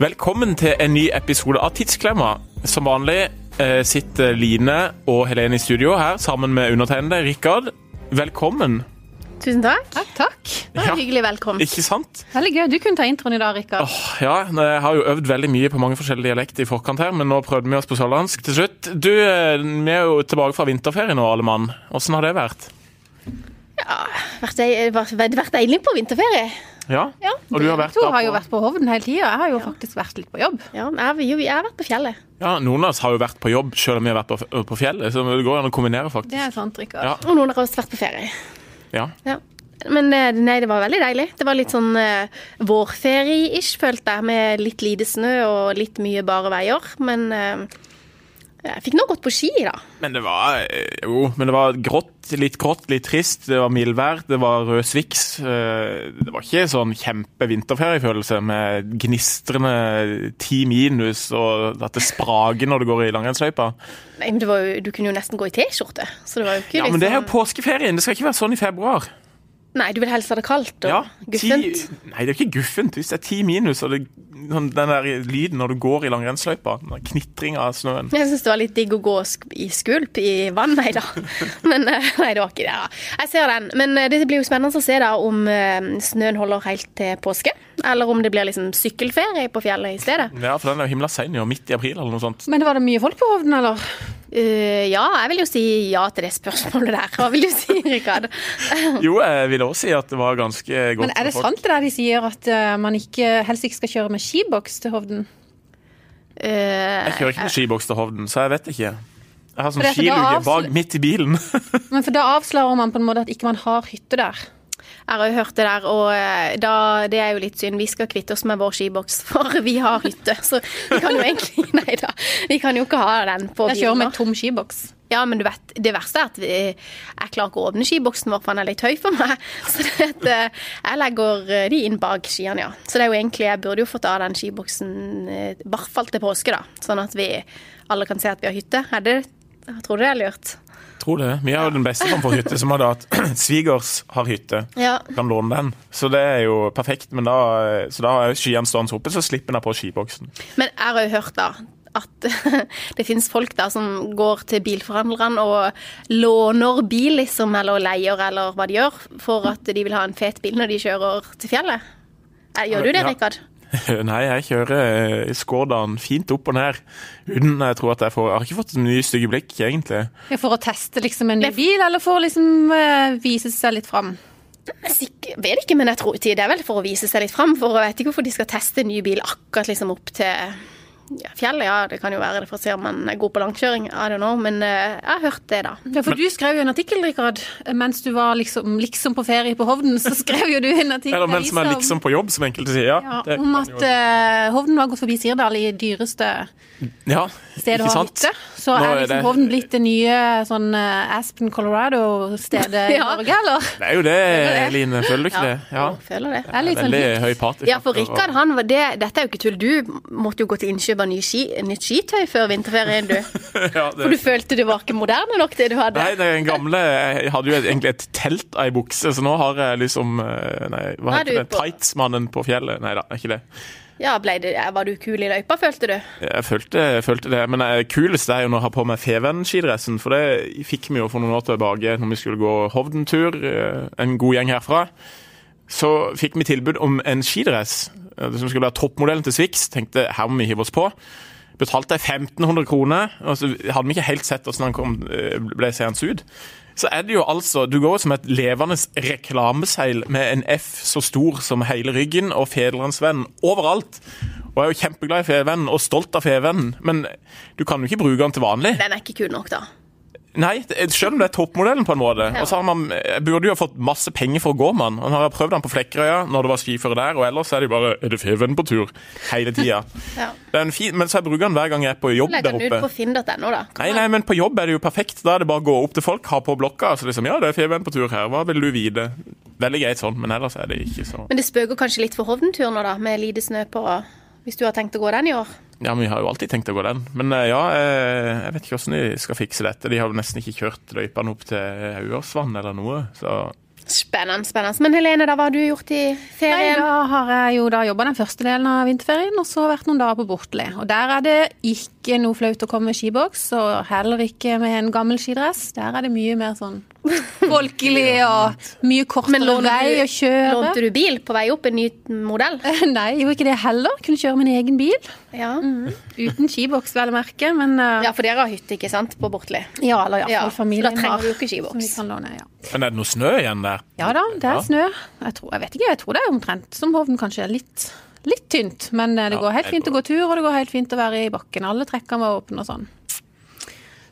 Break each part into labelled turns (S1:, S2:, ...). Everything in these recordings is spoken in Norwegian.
S1: Velkommen til en ny episode av Tidsklemma. Som vanlig eh, sitter Line og Helene i studio her sammen med undertegnede Rikard. Velkommen.
S2: Tusen takk.
S3: Takk, takk.
S2: Det var
S1: Ja.
S2: en Hyggelig velkommen.
S1: Ikke sant?
S3: Veldig gøy. Du kunne ta introen i dag, Rikard.
S1: Åh, ja, jeg har jo øvd veldig mye på mange forskjellige dialekter i forkant her, men nå prøvde vi oss på sørlandsk til slutt. Du, eh, vi er jo tilbake fra vinterferie nå, alle mann. Åssen har det vært?
S2: Vært, dei- vært, vært- vært deilig på vinterferie.
S1: Ja?
S2: Ja.
S1: Og du har vært
S3: Tor
S1: da
S3: har jo
S1: på-
S3: vært på Hovden hele tida. Jeg har jo faktisk vært litt på jobb.
S2: Ja, jeg, har- jo, jeg har vært på fjellet.
S1: Ja, noen av oss har jo vært på jobb selv om vi har vært på, på fjellet, så det går an å kombinere, faktisk.
S3: Det er sant, Rikard.
S1: Ja.
S2: Og noen har også vært på ferie.
S1: Ja.
S2: Ja. Men eh, nei, det var veldig deilig. Det var litt sånn eh, vårferie-ish, følte jeg, med litt lite snø og litt mye bare veier. Men eh, jeg fikk nå gått på ski, da.
S1: Men det var eh, jo, men det var grått, litt grått, litt trist. Det var mildvær, det var rød sviks. eh, Det var ikke sånn kjempe vinterferiefølelse med gnistrende ti minus og at det sprager når du går i langrennsløypa.
S2: Nei, men det var jo, du kunne jo nesten gå i T-skjorte. Så det var jo ikke liksom
S1: Ja, men det er jo påskeferien, det skal ikke være sånn i februar.
S2: Nei, du vil helst ha det kaldt og
S1: Ja,
S2: guffent.
S1: Ti, nei, det er jo ikke guffent hvis det er ti minus og det, sånn, den der lyden når du går i langrennsløypa. Knitringa av snøen.
S2: Jeg syns det var litt digg å gå og sk- i skvulp i vann, nei da. Men eh, nei, det var ikke det. da. Jeg ser den. Men eh, det blir jo spennende å se da om eh, snøen holder helt til påske. Eller om det blir liksom sykkelferie på fjellet i stedet.
S1: Ja, for den er jo himla sein i år, midt i april eller noe sånt.
S3: Men var det mye folk på Hovden, eller?
S2: Eh, ja, jeg vil jo si ja til det spørsmålet der. Hva vil du si, Rikard?
S1: Jo, jeg vil også si at det var ganske godt.
S3: Men er det
S1: med folk.
S3: sant det der de sier at eh, man ikke, helst ikke skal kjøre med skiboks til Hovden?
S2: Eh,
S1: Jeg kjører ikke med skiboks til Hovden, så jeg vet ikke. Jeg har sånn
S3: For det er for da
S1: skiluke
S3: avsl-
S1: bak midt i bilen.
S3: Men for da avslører man på en måte at ikke man har hytte der.
S2: Jeg har jo hørt det der, og eh, da, det er jo litt synd. Vi skal kvitte oss med vår skiboks, for vi har hytte. Så vi kan jo egentlig Nei da. Vi kan jo ikke ha den på
S3: Jeg kjører
S2: bilen
S3: med tom skiboks.
S2: Ja, men du vet, det verste er at vi, jeg klarer ikke å åpne skiboksen vår, for den er litt høy for meg. Så det at, eh, jeg legger eh, de inn bak skiene, ja. Så det er jo egentlig, jeg burde jo fått av den skiboksen, eh, i hvert fall til påske, da. Sånn at vi alle kan se at vi har hytte. Er det, jeg tror det er lurt.
S1: Tror det. Vi har jo den beste form for hytte, som er da at svigers har hytte.
S2: Ja.
S1: Kan låne den. Så det er jo perfekt. Men da, så da har jeg skiene stående oppe, så slipper jeg på skiboksen.
S2: Men jeg har jo hørt da at det finnes folk da som går til bilforhandlerne og låner bil, liksom, eller leier, eller hva de gjør, for at de vil ha en fet bil når de kjører til fjellet. Eh, Gjør du det,
S1: Ja.
S2: Rikard?
S1: Nei, jeg kjører eh, Skårdaen fint opp og ned. Uten jeg tror at jeg får Jeg har ikke fått så mye stygge blikk, egentlig.
S3: Ja, For å teste liksom en ny bil, eller for å liksom eh, vise seg litt fram?
S2: Sikk- vet ikke, men jeg tror det er vel for å vise seg litt fram. For jeg vet ikke hvorfor de skal teste en ny bil akkurat liksom opp til ja, fjellet. Ja, det kan jo være det for å se om man er god på langkjøring. I don't know, men eh, jeg har hørt det, da.
S3: Ja, for du skrev jo en artikkel, Rikard, mens du var liksom, liksom på ferie på Hovden. Så skrev jo du en artikkel
S1: Eller mens
S3: i
S1: jeg er
S3: avisen om-
S1: liksom på jobb, som enkelte sier. Ja,
S3: sånn- Ja,
S1: det,
S3: om at eh, Hovden har gått forbi Sirdal i dyreste
S1: ja
S3: stedet
S1: ikke
S3: å ha
S1: sant?
S3: hytte. Så
S1: Nå
S3: er
S1: er
S3: liksom
S1: det-
S3: Hovden blitt det nye sånn eh, Aspen, Colorado-stedet i
S2: Ja.
S3: Norge, eller?
S1: Det er jo det, Line. Føler du ikke det? Ja.
S2: Jeg føler det.
S3: Det er litt sånn
S1: Veldig
S3: likt.
S1: høy party.
S2: Ja, for Rikard, han var det Dette er jo ikke tull. Du måtte jo gå til innkjøp av ny ski, nytt skitøy før vinterferien, du.
S1: Ja, det-
S2: For du følte du var ikke moderne nok, det du hadde.
S1: Nei, den gamle Jeg hadde jo et- egentlig et telt av ei bukse, så nå har jeg liksom eh, Nei, hva
S2: Nå er
S1: heter det?
S2: du på-
S1: Tightsmannen på fjellet? Nei da, er ikke det.
S2: Ja, ble det, Var du kul i løypa, følte du?
S1: Jeg følte, jeg følte det. Men det kuleste er jo nå å ha på meg Feven-skidressen, for det fikk vi jo for noen år tilbake når vi skulle gå Hovden-tur, eh, en god gjeng herfra. Så fikk vi tilbud om en skidress eh, som skulle være toppmodellen til Swix. Tenkte her må vi hive oss på. Betalte jeg 1500 kroner, og så hadde vi ikke helt sett hvordan han kom, eh, ble seende ut. Så er det jo altså Du går jo som et levende reklameseil med en F så stor som hele ryggen og Federlandsvennen overalt. Og jeg er jo kjempeglad i Fevennen og stolt av Fevennen, men du kan jo ikke bruke den til vanlig.
S2: Den er ikke kul nok, da.
S1: Nei, det- selv om det er toppmodellen på en måte. Og så har man, jeg burde jo ha fått masse penger for å gå med den. Han har prøvd den på Flekkerøya når det var skiføre der, og ellers er det jo bare Er det Feven på tur? Hele tida.
S2: Ja.
S1: Det er en fin, men så jeg bruker den hver gang jeg er på jobb
S2: Legg
S1: der
S2: den ut
S1: oppe.
S2: på finn.no, da.
S1: Nei, nei, men på jobb er det jo perfekt. Da er det bare å gå opp til folk, ha på blokka. Så liksom, ja, det er Feven på tur her, hva vil du vite? Veldig greit sånn, men ellers er det ikke så
S2: Men det spøker kanskje litt for Hovden-turen nå, da, med lite snø på. Hvis du har tenkt å gå den i år.
S1: Ja, men vi har jo alltid tenkt å gå den. Men eh, ja, eh, jeg vet ikke hvordan de skal fikse dette. De har jo nesten ikke kjørt løypene opp til Auersvann eller noe, så
S2: Spennende, spennende. Men Helene, da, hva har du gjort i
S3: Nei,
S2: ferien?
S3: da har jeg jo da jobba den første delen av vinterferien, og så vært noen dager på Bortli. Og der er det ikke noe flaut å komme med skiboks, og heller ikke med en gammel skidress. Der er det mye mer sånn folkelig og mye
S2: Men
S3: kortere
S2: lånte
S3: vei
S2: du-
S3: å kjøre.
S2: Lånte du bil på vei opp, en ny modell?
S3: Nei, gjorde ikke det heller. Kunne kjøre min egen bil.
S2: Ja,
S3: Uten skiboks, vel å merke, men eh,
S2: ja for dere har hytte, ikke sant, på Bortli?
S3: ja, eller
S2: Ja,
S3: iallfall
S2: så
S3: familien
S2: da trenger
S3: har,
S2: du jo ikke skiboks.
S3: som vi kan låne, ja.
S1: Men er det noe snø igjen der?
S3: Ja da, det
S1: Ja.
S3: er snø. Jeg, tror, jeg vet ikke, jeg tror det er omtrent som Hovden, kanskje litt, litt tynt. Men eh, det
S1: Ja,
S3: går helt
S1: jeg
S3: fint å gå tur, og det går helt fint å være i bakken. Alle trekker var åpne og sånn.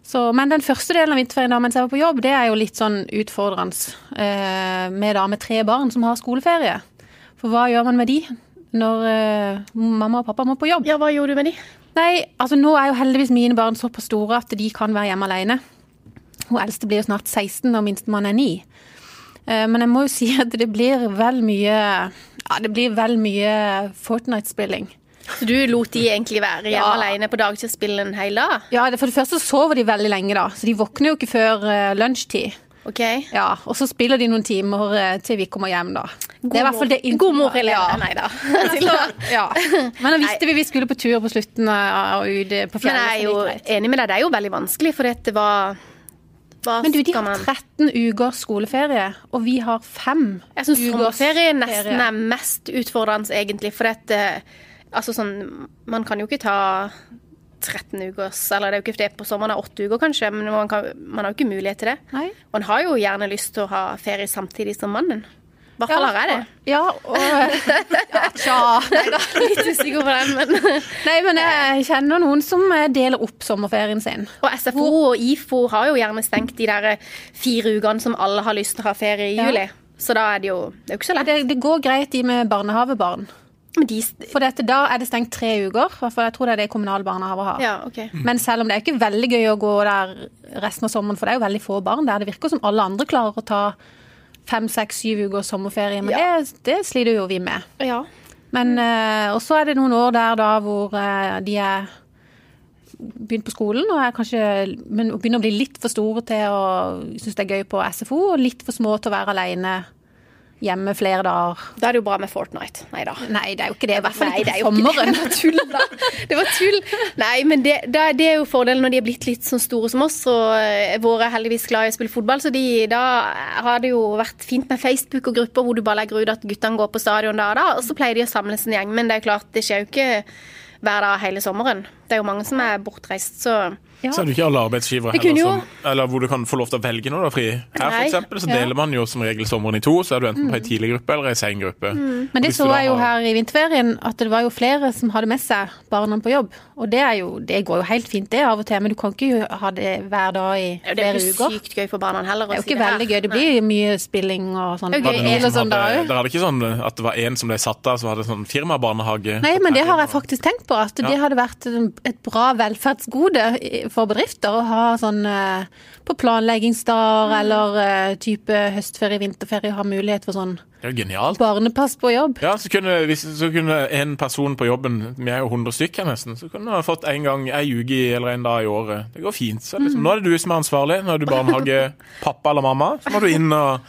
S3: Så, men den første delen av vinterferien da, mens jeg var på jobb, det er jo litt sånn utfordrende eh, med, da, med tre barn som har skoleferie. For hva gjør man med de når eh, mamma og pappa må på jobb?
S2: Ja, hva gjorde du med de?
S3: Nei, altså nå er jo heldigvis mine barn såpass store at de kan være hjemme alene. Hun eldste blir jo snart 16, og minstemann er 9. Eh, Men jeg må jo si at det blir vel mye Ja, det blir vel mye Fortnite-spilling.
S2: Så du lot de egentlig være hjemme
S3: Ja.
S2: alene på dagtid og spille en hel dag?
S3: Ja, det- For det første så sover de veldig lenge, da, så de våkner jo ikke før eh, lunsjtid.
S2: OK?
S3: Ja, Og så spiller de noen timer eh, til vi kommer hjem, da. det er i hvert fall det
S2: God mor, Helene.
S3: Ja.
S2: Nei da.
S3: Så, ja. Men da visste vi vi skulle på tur på slutten av og ut eh, på
S2: Men
S3: fjellet.
S2: jeg er jo
S3: så det gikk greit.
S2: enig med deg, det er jo veldig vanskelig, for dette var hva
S3: Men du, de
S2: skal
S3: har
S2: man
S3: 13 ukers skoleferie, og vi har fem
S2: Jeg syns
S3: ukers
S2: sommerferie nesten
S3: ferie.
S2: er mest utfordrende, egentlig. For dette Altså sånn Man kan jo ikke ta 13 ukers Eller det er jo ikke det på sommeren, det er åtte uker kanskje, men man, kan, man har jo ikke mulighet til det.
S3: Nei.
S2: Man har jo gjerne lyst til å ha ferie samtidig som mannen. I hvert fall har jeg det.
S3: Ja, og ja, Tja.
S2: Litt usikker på den, men
S3: Nei, men jeg kjenner noen som eh, deler opp sommerferien sin.
S2: Og SFO og IFO har jo gjerne stengt de der eh, fire ukene som alle har lyst til å ha ferie i
S3: Ja.
S2: juli. Så da er det jo Det er jo ikke så lett.
S3: Det, det går greit, de med barnehavebarn.
S2: Men de
S3: For dette, da er det stengt tre uker. i hvert fall jeg tror det er det kommunale barnehaver har.
S2: Ja, OK.
S3: Men selv om det er ikke veldig gøy å gå der resten av sommeren, for det er jo veldig få barn der. Det virker som alle andre klarer å ta fem, seks, syv uker sommerferie, men
S2: Ja.
S3: det, det sliter jo vi med.
S2: Ja.
S3: Men, eh, og så er det noen år der da hvor eh, de er begynt på skolen og er kanskje, men begynner å bli litt for store til å synes det er gøy på SFO, og litt for små til å være alene hjemme flere dager.
S2: Da er det jo bra med Fortnite. Nei da.
S3: Nei, det er jo ikke det. I hvert fall
S2: Nei,
S3: ikke
S2: det er
S3: på
S2: jo ikke
S3: sommeren.
S2: det. Det var tull, da. Det var tull. Nei, men det, da- det er jo fordelen når de er blitt litt sånn store som oss, og eh, våre er heldigvis glad i å spille fotball, så de, da har det jo vært fint med Facebook og grupper hvor du bare legger ut at guttene går på stadion da og da, og så pleier de å samles en gjeng. Men det er klart, det skjer jo ikke hver dag hele sommeren. Det er jo mange som er bortreist, så
S3: Ja.
S1: Så er det ikke alle arbeidsgivere
S2: Vi kunne
S1: heller
S2: jo-
S1: som, eller hvor du kan få lov til å velge når du har fri. Her for
S2: Nei.
S1: eksempel, så
S3: Ja. Mm.
S1: deler man jo som regel sommeren i to, så er du enten på ei tidlig gruppe eller ei sein gruppe.
S3: Men det
S1: Hvis du
S3: så
S1: da
S3: jeg jo
S1: har-
S3: her i vinterferien, at det var jo flere som hadde med seg barna på jobb. Og det, er jo, det går jo helt fint det av og til, men du kan ikke ha det hver dag i
S2: det er
S3: flere
S2: jo ikke
S3: uker.
S2: sykt gøy for barna heller. å
S3: Det er jo
S2: si
S3: ikke veldig
S2: her.
S3: gøy. Det blir mye spilling og sånn.
S2: Det er jo gøy.
S1: Hadde noen
S3: Eller
S1: som
S3: sånn da
S1: hadde,
S3: òg.
S1: der er det ikke sånn at det var en som ble satt av, som hadde sånn firmabarnehage?
S3: Nei, men det har jeg faktisk tenkt på. At det
S1: Ja.
S3: hadde vært en- et bra velferdsgode i- for bedrifter å ha sånn eh, på planleggingsdager
S2: Mm.
S3: eller eh, type høstferie, vinterferie, ha mulighet for sånn
S1: Det er jo genialt.
S3: barnepass på jobb.
S1: Ja, så kunne, hvis, så kunne en person på jobben, vi er jo 100 stykker nesten, så kunne han fått en gang ei uke i- eller en dag i året. Det går fint. Så
S3: Mm.
S1: liksom, nå er det du som er ansvarlig. Nå er du barnehagepappa eller mamma. Så må du inn og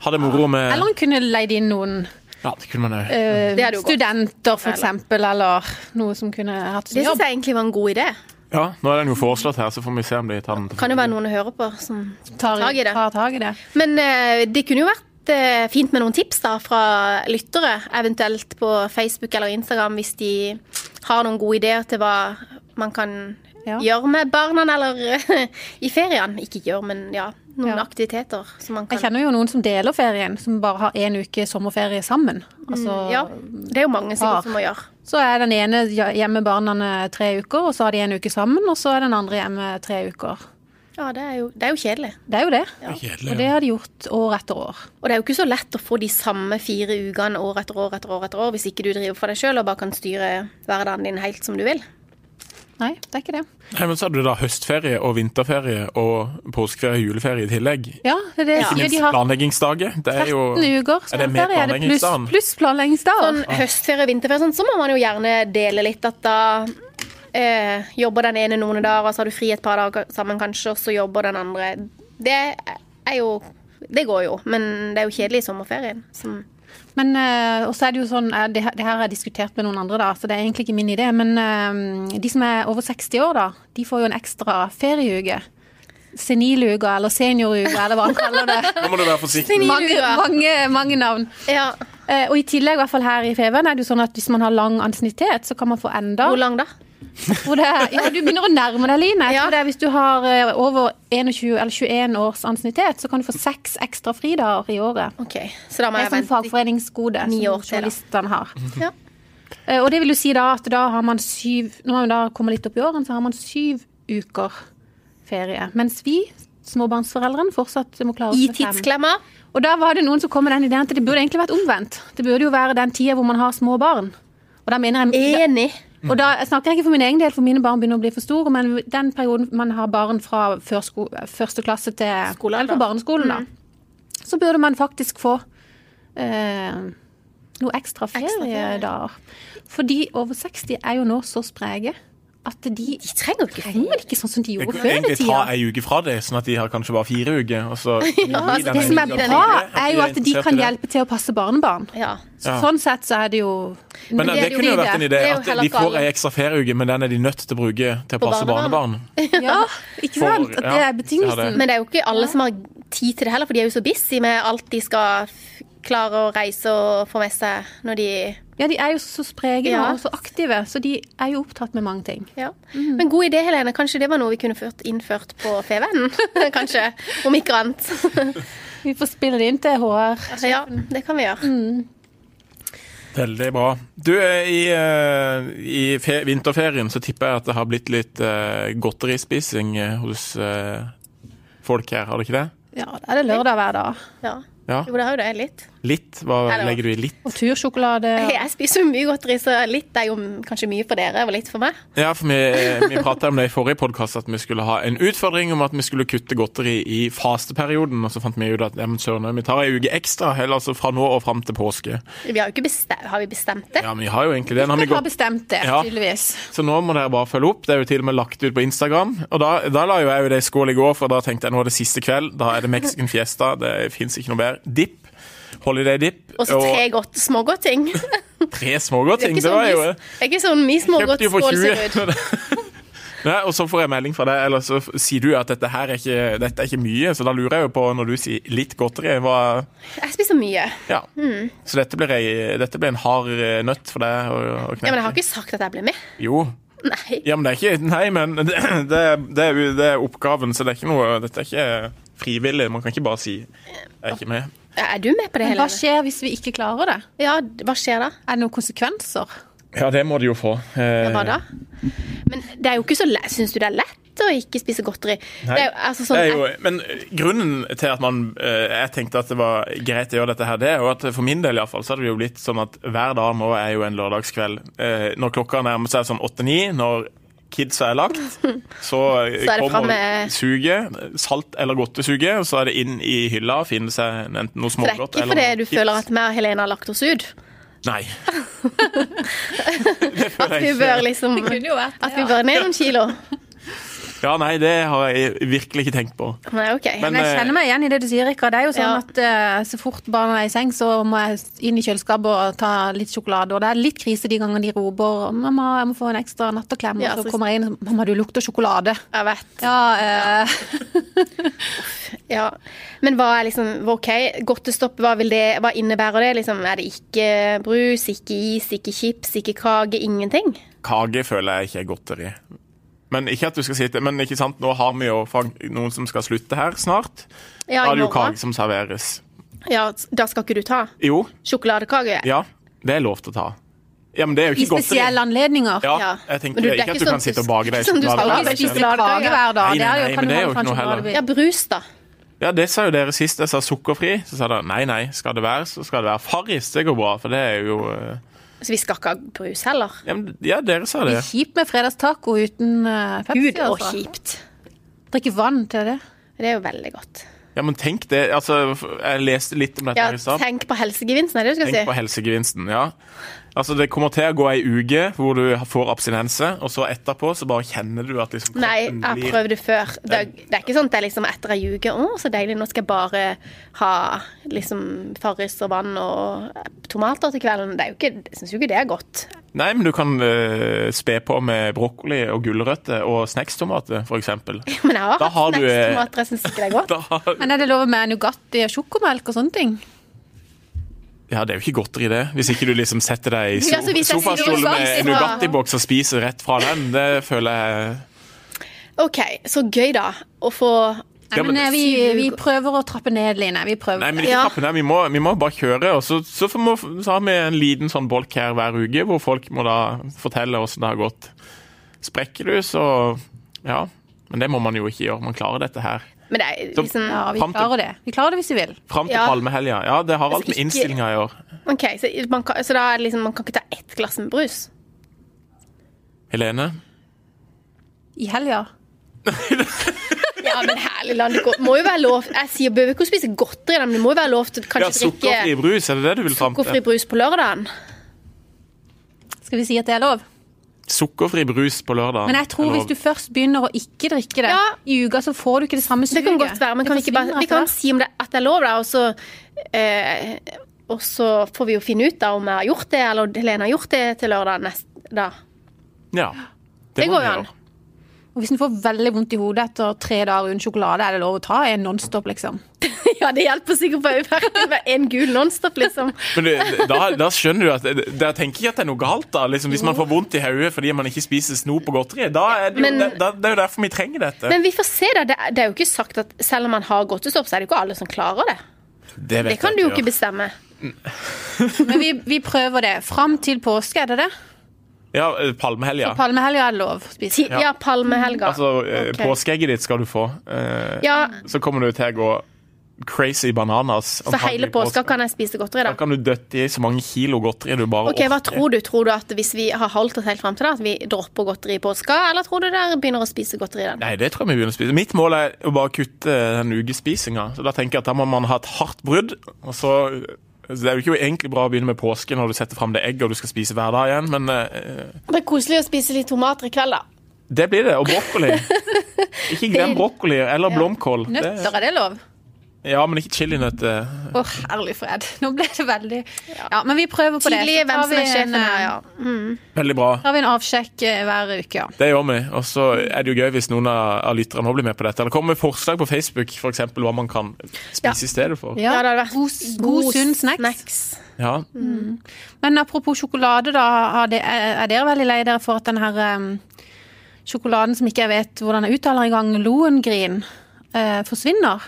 S1: ha det moro med
S3: Eller hun kunne leid inn noen
S1: Ja, det kunne man òg.
S3: eh,
S2: Det hadde jo gått.
S3: studenter, for eksempel, eller noe som kunne hatt
S2: Det
S3: sin
S2: syns
S3: jobb.
S2: jeg egentlig var en god idé.
S1: Ja, nå er den jo foreslått her, så får vi se om de tar den. til
S2: Kan jo
S1: følge.
S2: være noen å høre på som
S3: Tar,
S2: tag i det.
S3: tar tag i det.
S2: Men eh, det kunne jo vært eh, fint med noen tips da fra lyttere, eventuelt på Facebook eller Instagram, hvis de har noen gode ideer til hva man kan
S3: Ja.
S2: gjøre med barna eller i ferien. Ikke gjøre, men ja, noen
S3: Ja.
S2: aktiviteter som man
S3: Jeg
S2: kan
S3: kjenner jo noen som deler ferien, som bare har én uke sommerferie sammen. Altså,
S2: Mm, Ja, det er jo mange
S3: Par.
S2: sikkert som må gjøre.
S3: Så er den ene hjemme barna tre uker, og så har de en uke sammen, og så er den andre hjemme tre uker.
S2: Ja, det er jo, det er jo kjedelig.
S3: Det er jo det.
S1: Kjedelig.
S3: Og
S1: ja.
S3: det har de gjort år etter år.
S2: Og det er jo ikke så lett å få de samme fire ukene år etter år etter år etter år hvis ikke du driver for deg sjøl og bare kan styre hverdagen din helt som du vil.
S3: Nei, det er ikke det.
S1: Nei, men så hadde du da høstferie og vinterferie og påskeferie og juleferie i tillegg.
S3: Ja, det er det.
S1: Ikke
S3: Ja,
S1: minst
S3: de har
S1: planleggingsdager. Det er jo
S3: 13 uker
S1: Er det med
S3: sommerferie, er det pluss,
S1: planleggingsdagen?
S3: pluss planleggingsdager.
S2: Sånn høstferie og vinterferie, og sånn, så må man jo gjerne dele litt at da eh, jobber den ene noen dager, og så har du fri et par dager sammen kanskje, og så jobber den andre. Det er jo det går jo. Men det er jo kjedelig i sommerferien. Som,
S3: Men eh, også er det jo sånn, eh, det, her- det her har jeg diskutert med noen andre, da, så det er egentlig ikke min idé. Men eh, de som er over 60 år, da, de får jo en ekstra ferieuke. Seniluka eller senioruka, eller hva han kaller det.
S1: Nå må du være forsiktig.
S3: Mange, mange, mange navn.
S2: ja,
S3: Eh, og i tillegg, i hvert fall her i Feven, er det jo sånn at hvis man har lang ansiennitet, så kan man få enda
S2: hvor lang da?
S3: hvor det er, ja, Du begynner å nærme deg, Line. Jeg
S2: Ja.
S3: tror det er Hvis du har eh, over 21, eller 21 års ansiennitet, så kan du få seks ekstra fridager i året.
S2: OK, så da må
S3: Det er
S2: jeg
S3: sånn
S2: vente.
S3: fagforeningsgode som
S2: Ni år til, da.
S3: journalistene har.
S2: Ja.
S3: Eh, Og det vil jo si da at da har man syv Når man da kommer litt opp i årene, så har man syv uker ferie. Mens vi, småbarnsforeldrene, fortsatt må klare oss
S2: I
S3: med fem.
S2: tidsklemmer.
S3: Og da var det noen som kom med den ideen at det burde egentlig vært omvendt. Det burde jo være den tida hvor man har små barn. Og da mener jeg
S2: Enig.
S3: og da jeg snakker jeg ikke for min egen del, for mine barn begynner å bli for store, men den perioden man har barn fra førsko, første klasse til
S2: Skolealder.
S3: eller på barneskolen, da, så burde man faktisk få eh, noe ekstra feriedager. For de over 60 er jo nå så spreke at de
S2: De trenger jo ikke
S3: trenger vel ikke sånn som de
S1: Jeg
S3: gjorde
S1: kunne
S3: før i
S1: egentlig ta
S3: tida.
S1: ei uke fra det, sånn at de har kanskje bare fire uker. Og så kan de
S2: Ja,
S1: gi den
S2: altså,
S3: Det
S1: ene
S3: som er
S1: uka
S2: den
S3: bra,
S1: videre,
S3: er jo at de
S1: interessert
S3: kan
S1: i det.
S3: hjelpe til å passe barnebarn.
S2: Ja.
S1: Ja.
S3: Sånn sett så er det jo
S1: Men eh, det,
S2: er jo
S1: kunne jo vært en idé
S2: Det er jo
S1: at
S2: heller
S1: de
S2: ikke
S1: får
S2: alle.
S1: ei ekstra ferieuke, men den er de nødt til å bruke til å passe barnebarn.
S2: barnebarn.
S3: Ja, ikke
S1: For-
S3: sant? At det
S1: ja,
S3: er betingelsen.
S2: Men det er jo ikke alle som har tid til det heller, for de er jo så busy med alt de skal f- klare å reise og få med seg når de
S3: Ja, de er jo så spreke
S2: Ja.
S3: nå, og så aktive, så de er jo opptatt med mange ting.
S2: ja. Men god idé, Helene. Kanskje det var noe vi kunne ført, innført på Fevennen? Kanskje. Om ikke annet.
S3: Vi får spille det inn til HR.
S2: Ja, Mm. det kan vi gjøre.
S1: Veldig bra. Du, eh, i, eh, i fe vinterferien så tipper jeg at det har blitt litt eh, godterispising eh, hos eh, folk her, har det ikke det?
S3: Ja, da er det lørdag hver dag.
S2: Ja.
S1: Ja.
S2: Jo, det har jo det. Litt.
S1: Litt? Hva
S2: Eller-
S1: legger du i litt?
S3: Og tursjokolade. og-
S2: Jeg spiser jo mye godteri, så litt er jo kanskje mye for dere og litt for meg.
S1: Ja, for vi, eh, vi prata om det i forrige podkast, at vi skulle ha en utfordring om at vi skulle kutte godteri i fasteperioden. Og så fant vi ut at ja, men søren, vi tar ei uke ekstra, heller altså fra nå og fram til påske.
S2: Vi har jo ikke bestemt, har vi bestemt det?
S1: Ja, men vi har jo egentlig det. Nå har vi
S3: Dere har
S1: gått
S3: bestemt det,
S1: Ja.
S3: tydeligvis.
S1: Så nå må dere bare følge opp. Det er jo til og med lagt ut på Instagram. Og da, da la jo jeg jo det i skål i går, for da tenkte jeg nå er det siste kveld. Da er det Mexican Fiesta. Det fins ikke noe bedre. Dipp. Holiday dip.
S2: Og så tre godt, smågodting.
S1: tre smågodtting. Det,
S2: Ikke sånn
S1: var jo
S2: mye- det er ikke sånn mye
S1: Kjøpte jo for
S2: smågodtskål ser
S1: 20.
S2: ut.
S1: Nei, og så får jeg melding fra deg, eller så f- sier du at dette her er ikke, dette er ikke mye, så da lurer jeg jo på, når du sier litt godteri, hva
S2: Jeg spiser mye.
S1: Ja.
S2: Hmm.
S1: Så dette blir, ei, dette blir en hard eh, nøtt for deg å, å
S2: Ja,
S1: knekke.
S2: men jeg har ikke sagt at jeg ble med.
S1: Jo.
S2: Nei.
S1: Ja, men det er ikke Nei, men det, det, er- det, er, jo- det er oppgaven, så det er ikke noe Dette er ikke frivillig. Man kan ikke bare si 'jeg er ikke med'.
S2: Er du med på det,
S3: Men hva
S2: Helene?
S3: skjer hvis vi ikke klarer det?
S2: Ja, d- hva skjer da?
S3: Er det noen konsekvenser?
S1: Ja, det må du jo få. Eh,
S2: Hva da? Men det er jo ikke så lett. Syns du det er lett å ikke spise godteri?
S1: Nei.
S2: Det er jo, altså,
S1: det
S2: sånn,
S1: er jo, men eh, grunnen til at man, eh, jeg tenkte at det var greit å gjøre dette her, det er jo at for min del i hvert fall, så hadde det jo blitt sånn at hver dag nå er jo en lørdagskveld. Eh, Når klokka nærmer seg sånn 8-9, når kidsa er lagt, så, eh,
S2: Så er det fram
S1: kommer
S2: med-
S1: suget, salt eller godtesuget, og så er det inn i hylla og finne seg enten noe
S2: så det er
S1: smågodt
S2: ikke fordi
S1: noe
S2: du
S1: chips.
S2: føler at vi og Helene har lagt oss ut?
S1: Nei. det
S2: At
S1: føler
S2: vi
S1: jeg
S2: bør
S1: ikke.
S2: liksom
S3: jo vært
S2: At vi bør ned noen kilo?
S1: Ja, nei, det har jeg virkelig ikke tenkt på.
S2: Nei, OK.
S1: Men- eh,
S3: Men jeg kjenner meg igjen i det du sier, Rikard. Det er jo sånn
S2: Ja.
S3: at eh, så fort barna er i seng, så må jeg inn i kjøleskapet og ta litt sjokolade. Og det er litt krise de gangene de roper 'mamma, jeg må få en ekstra natteklem',
S2: Ja,
S3: og så
S2: så-
S3: kommer jeg inn og 'mamma, du lukter sjokolade'.
S2: Jeg vet.
S3: Ja, eh,
S2: Ja. Men hva er liksom hva- OK, godtestopp, hva, vil det, hva innebærer det? Liksom, er det ikke brus, ikke is, ikke chips, ikke kake? Ingenting?
S1: Kake føler jeg ikke er godteri. Men ikke at du skal sitte Men ikke sant, nå har vi jo fag- noen som skal slutte her snart.
S2: Ja,
S1: da
S2: i
S1: er det jo
S2: morgen.
S1: kake som serveres.
S2: Ja, da skal ikke du ta
S1: Jo,
S2: sjokoladekake?
S1: ja. Det er lov til å ta. Ja, men det er jo
S3: I
S1: ikke godteri.
S3: spesielle anledninger.
S1: Ja,
S2: Ja.
S1: jeg
S2: Men
S1: tenker
S2: du,
S1: ikke,
S2: det er
S1: at
S2: ikke
S1: du
S2: sånn
S1: kan
S2: at
S1: sitte
S2: du-
S1: og bake deg
S2: sånn du skal
S1: sjokolade.
S2: bare
S1: det
S2: spise
S1: er
S2: sjokolade.
S1: ikke-
S2: Kake hver
S1: Nei,
S3: Det
S1: nei,
S3: er jo,
S1: nei,
S3: kan
S1: men
S3: du
S1: det er jo
S3: holde fra
S1: ikke noe heller.
S3: sjokolade.
S2: Ja, brus, da.
S1: Ja, det sa jo dere sist jeg sa sukkerfri. Så sa dere nei, nei, skal det være, så skal det være Farris. Det går bra, for det er jo eh,
S2: Så vi skal ikke ha brus heller.
S1: Ja, men, ja dere sa
S3: Det
S1: det.
S3: er kjipt med fredagstaco uten uh, Pepsi.
S2: Gud, og
S3: altså.
S2: kjipt.
S3: Drikke vann til det.
S2: Det er jo veldig godt.
S1: Ja, men tenk det. Altså, jeg leste litt om dette
S2: Ja,
S1: her i stad.
S2: tenk på helsegevinsten, er det du skal
S1: Tenk på
S2: si?
S1: helsegevinsten, ja. Altså, Det kommer til å gå ei uke hvor du får abstinense, og så etterpå så bare kjenner du at liksom
S2: Nei,
S1: kroppen
S2: jeg har
S1: blir-
S2: prøvd det før. Det er, det er ikke sånn at det er liksom etter ei uke Å, så deilig, nå skal jeg bare ha liksom Farris og vann og tomater til kvelden. Det er jo ikke, jeg syns jo ikke det er godt.
S1: Nei, men du kan eh, spe på med brokkoli og gulrøtter og snackstomater, f.eks.
S2: Men jeg har
S1: Da
S2: hatt
S1: har du, eh,
S2: snackstomater, jeg syns ikke det er godt.
S1: Da har
S3: Men er det lov med Nugatti og sjokomelk og sånne ting?
S1: Ja, det er jo ikke godteri, det. Hvis ikke du liksom setter deg i so
S2: Ja, altså, hvis jeg sier
S1: sofastol med
S2: Nugatti,
S1: en
S2: så-
S1: Nugatti-boks og spiser rett fra den, det føler jeg
S2: OK, så gøy, da. Å få
S1: Ja,
S3: Nei, men
S1: men-
S3: eh, vi, vi prøver å trappe ned, Line. Vi prøver.
S1: Nei, men ikke
S2: Ja.
S1: trappe ned. Vi må, vi må bare kjøre. Og så, så, får- må, så har vi en liten sånn bolk her hver uke, hvor folk må da fortelle åssen det har gått. Sprekker du, så Ja. Men det må man jo ikke gjøre. Man klarer dette her.
S2: Men det er
S1: Så-
S2: liksom
S3: Ja, vi
S1: Fram til-
S3: klarer det. Vi klarer det hvis vi vil.
S1: Fram til
S2: Ja.
S1: palmehelga. Ja, det har alt med
S2: Ikke-
S1: innstillinga å gjøre.
S2: OK, så man kan, så da er det liksom, man kan ikke ta ett glass med brus?
S1: Helene?
S3: I helga.
S2: Ja, men herlig land, det går- må jo være lov Jeg sier behøver ikke å spise godteri, da, men det må jo være lov til å
S1: Ja,
S2: kanskje
S1: sukkerfri
S2: drikke
S1: brus, er det det du vil fram
S2: sukkerfri
S1: til?
S2: brus på lørdagen.
S3: Skal vi si at det er lov?
S1: Sukkerfri brus på lørdag.
S3: Men jeg tror hvis du først begynner å ikke drikke det
S2: Ja.
S3: i uka, så får du ikke det samme
S2: Det
S3: suget.
S2: kan godt være, men
S3: Det
S2: kan vi ikke bare,
S3: forsvinner
S2: vi kan
S3: etter hvert.
S2: si om det, at det er lov, da, og så eh, Og så får vi jo finne ut da om jeg har gjort det, eller Helene har gjort det til lørdag neste da.
S1: Ja.
S2: Det
S1: må
S2: går
S1: vi
S2: jo an.
S1: gjøre.
S3: Og hvis en får veldig vondt i hodet etter tre dager uten sjokolade, er det lov å ta en Nonstop, liksom.
S2: Ja, det hjelper sikkert på øyeverket med en gul nonstop, liksom.
S1: Men det, da, da skjønner du at Da tenker jeg at det er noe galt, da. Liksom, hvis man får vondt i hodet fordi man ikke spiser snop og godteri. Da er det, jo,
S2: Men-
S1: det, da, det er jo derfor vi trenger dette.
S2: Men vi får se, da. Det er- Det er jo ikke sagt at selv om man har godtestopp, så er det jo ikke alle som klarer det.
S1: vet
S2: Det
S1: jeg
S2: kan du jo
S1: gjør.
S2: ikke bestemme.
S3: Men vi, vi prøver det. Fram til påske, er det det?
S1: Ja, eh, palmehelga.
S3: Palmehelga er det lov å spise.
S2: Ti- Ja, palmehelga.
S1: Altså, eh,
S2: Ok.
S1: påskeegget ditt skal du få. Eh,
S2: Ja,
S1: Så kommer du til å gå crazy bananas.
S2: så hele
S1: antagelig
S2: påska
S1: påske.
S2: kan jeg spise godteri, da.
S1: Da kan du døtte i så mange kilo godteri du bare
S2: Ok, Hva tror du? Tror du at hvis vi har holdt oss helt fram til det, at vi dropper godteri i påska, eller tror du dere begynner å spise godteri den?
S1: Nei, det tror jeg vi begynner å spise. Mitt mål er å bare kutte den ukespisinga. Så da tenker jeg at da må man ha et hardt brudd, og så så Det er jo ikke egentlig bra å begynne med påske når du setter fram det egget og du skal spise hver dag igjen, men eh,
S2: Det er koselig å spise litt tomater i kveld, da.
S1: det blir det. Og brokkoli. Ikke glem brokkoli eller blomkål. Det,
S3: Nøtter, er det lov?
S1: ja, men ikke chilinøtter.
S3: Å, herlig fred. Nå ble det veldig Ja, men vi prøver på det.
S2: Tidlig
S3: Så
S2: hvem
S3: tar vi
S2: som er
S3: en,
S2: sjefen her,
S3: eh,
S2: ja.
S1: Veldig bra.
S3: tar vi en avsjekk eh, hver uke, ja.
S1: Det gjør vi. Og så er det jo gøy hvis noen av av lytterne også blir med på dette. Eller kommer med forslag på Facebook, f.eks. hva man kan spise
S2: Ja.
S1: i stedet for.
S2: Ja, det hadde vært
S3: god, god, sunn snacks.
S1: Ja.
S3: Men apropos sjokolade, da. har det- Er er dere veldig lei dere for at den her eh, sjokoladen som ikke jeg vet hvordan jeg uttaler engang, Lohengrin, eh, forsvinner?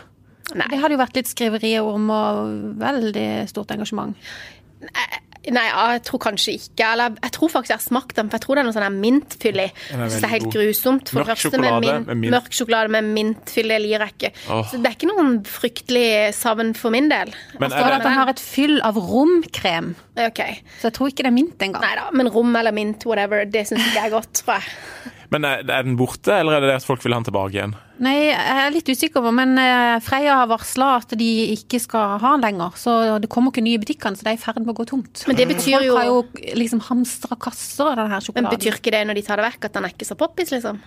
S2: Nei.
S3: Det hadde jo vært litt skriverier om og veldig stort engasjement.
S2: Nei, ja, jeg tror kanskje ikke. Eller jeg tror faktisk jeg har smakt den, for jeg tror det er noe sånn her mintfyll i.
S1: Den er
S2: Så det er
S1: veldig
S2: helt
S1: god.
S2: grusomt. For
S1: Mørk
S2: det første
S1: sjokolade
S2: min-
S1: med mint.
S2: Mørk sjokolade med mintfyll, det liker jeg ikke.
S1: Åh.
S2: Så det er ikke noen fryktelig savn for min del.
S1: Men
S3: Og
S1: er
S3: at
S1: det,
S3: den har et fyll av romkrem.
S2: Ok.
S3: Så jeg tror ikke det er mint engang.
S2: Nei da, men rom eller mint, whatever, det syns ikke jeg er godt, tror jeg.
S1: men er er den borte, eller er det det at folk vil ha den tilbake igjen?
S3: Nei, jeg er litt usikker, på, men eh, Freia har varsla at de ikke skal ha den lenger. Så det kommer ikke nye i butikkene, så det er i ferd med å gå tomt.
S2: Men det betyr
S3: Folk
S2: jo-
S3: har jo liksom hamstra kasser av denne her
S2: Men
S3: sjokoladen.
S2: betyr ikke det når de tar det vekk, at den er ikke så poppis, liksom?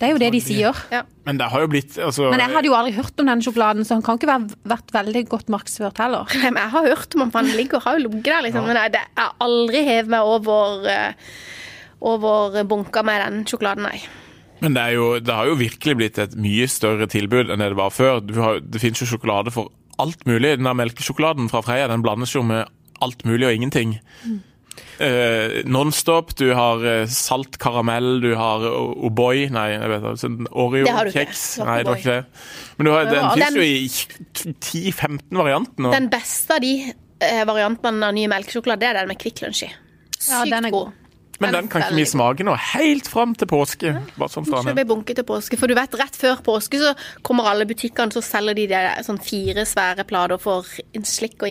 S3: Det er jo det de sier.
S2: Ja.
S1: Men det har jo blitt altså,
S3: Men jeg hadde jo aldri hørt om den sjokoladen, så han kan ikke være, vært veldig godt markedsført heller.
S2: Nei, men Jeg har hørt om han, for han ligger og har jo ligget der, liksom. Men jeg, det, jeg har aldri hevet meg over eh, over bunker med den sjokoladen, nei.
S1: Men det, er jo, det har jo virkelig blitt et mye større tilbud enn det det var før. Du har, det finnes jo sjokolade for alt mulig. Den der melkesjokoladen fra Freia den blandes jo med alt mulig og ingenting.
S2: Mm.
S1: Eh, Nonstop, du har eh, salt karamell, du har O- O'boy Nei, jeg vet ikke. sånn
S2: Det har du ikke.
S1: Oreo-kjeks.
S2: Det var
S1: Nei,
S2: ikke
S1: det var
S2: O'boy.
S1: ikke det. Men du har, den
S2: Ja,
S1: finnes
S2: den-
S1: jo i 10-15 varianter nå.
S2: Den beste av de eh, variantene av ny melkesjokolade, det er den med Kvikk Lunsj i. Sykt
S3: Ja, den er
S2: god.
S3: god.
S1: Men
S3: den er
S1: den kan ikke vi
S3: veldig
S1: smake nå, helt fram til påske. Bare sånn fra
S2: Så
S1: meg.
S2: det blir bunket til påske. For du vet, rett før påske så kommer alle butikkene, så selger de det, sånn fire svære plater for en slikk og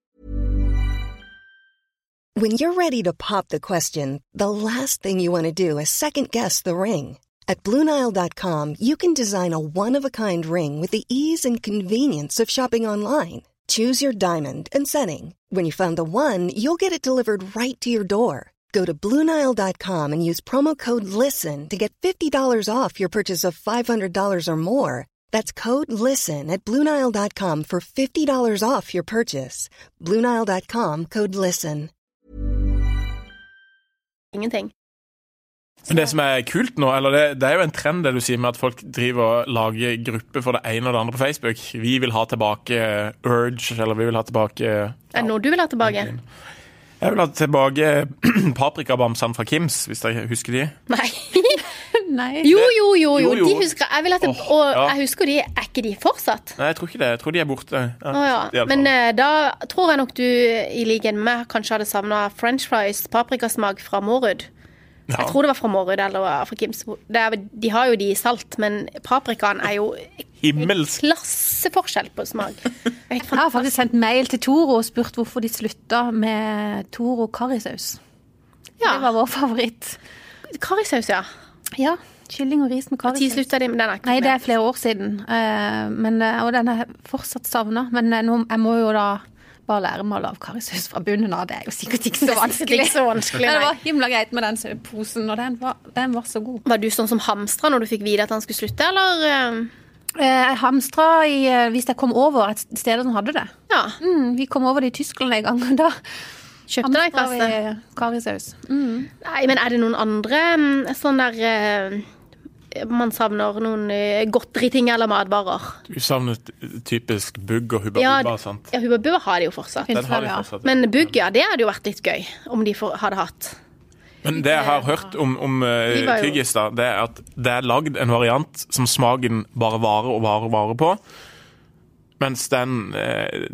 S4: When you're ready to pop the question, the last thing you want to do is second guess the ring. At Bluenile.com, you can design a one of a kind ring with the ease and convenience of shopping online. Choose your diamond and setting. When you find the one, you'll get it delivered right to your door. Go to Bluenile.com and use promo code LISTEN to get $50 off your purchase of $500 or more. That's code LISTEN at Bluenile.com for $50 off your purchase. Bluenile.com code LISTEN.
S2: Ingenting.
S1: Men det som er kult nå, eller det, det er jo en trend det du sier med at folk driver og lager grupper for det ene og det andre på Facebook. Vi vil ha tilbake eh, Urge, eller vi vil ha tilbake eh,
S2: Er det noe du vil ha tilbake?
S1: Jeg vil ha tilbake paprikabamsene fra Kims, hvis jeg husker de.
S2: Nei.
S3: Nei.
S2: Jo, jo, jo. jo.
S1: Jo, jo.
S2: De husker, jeg vil at det,
S1: Åh,
S2: og
S1: ja.
S2: jeg husker de. Er ikke de fortsatt?
S1: Nei, jeg tror ikke det. Jeg tror de er borte. Ja,
S2: Å
S1: i
S2: ja.
S1: alle
S2: Men
S1: fall.
S2: eh, da tror jeg nok du, i likhet med meg, kanskje hadde savna french fries paprikasmak fra Mårud.
S1: Ja.
S2: Jeg tror det var fra Mårud eller fra Kims. Det er, de har jo de i salt, men paprikaen er jo
S1: Himmelsk.
S2: klasseforskjell på smak. Helt
S3: Jeg
S2: fan-
S3: har faktisk sendt mail til Toro og spurt hvorfor de slutta med Toro karrisaus.
S2: Ja.
S3: Det var vår favoritt.
S2: Karisaus, ja.
S3: Ja, kylling og ris med
S2: Når
S3: karrisaus.
S2: slutta de med den? er ikke
S3: Nei, det
S2: med.
S3: er flere år siden, eh, men, eh, og den er fortsatt savna. Men eh, nå, jeg må jo da bare lære meg å lage karrisaus fra bunnen av. Det er jo sikkert ikke så
S2: Det er
S3: vanskelig.
S2: ikke så vanskelig,
S3: Men det
S2: nei.
S3: var himla greit med den sø- posen, og den var, den var så god.
S2: Var du sånn som hamstra når du fikk vite at han skulle slutte, eller? eh,
S3: Eh, Jeg hamstra i, eh, hvis jeg kom over et sted som hadde det.
S2: Ja.
S3: Mm, vi kom over det i Tyskland en gang, og da
S2: Kjøpte deg
S3: hamstra
S2: kasse?
S3: vi karrisaus. Mm.
S2: Nei, men er det noen andre mm, sånn der eh, man savner noen eh, godteriting eller matvarer?
S1: Du savnet typisk bugg og hubba
S2: Ja,
S1: bubba, sant?
S2: ja Hubba Bubba har de jo fortsatt.
S1: Den har de
S3: ja.
S1: fortsatt.
S2: Men Bugg, ja, det hadde jo vært litt gøy om de for, hadde hatt.
S1: Men det jeg har hørt om, om eh,
S2: De var jo-
S1: tyggis, da, det er at det er lagd en variant som smaken bare varer og varer og varer på. Mens den, eh,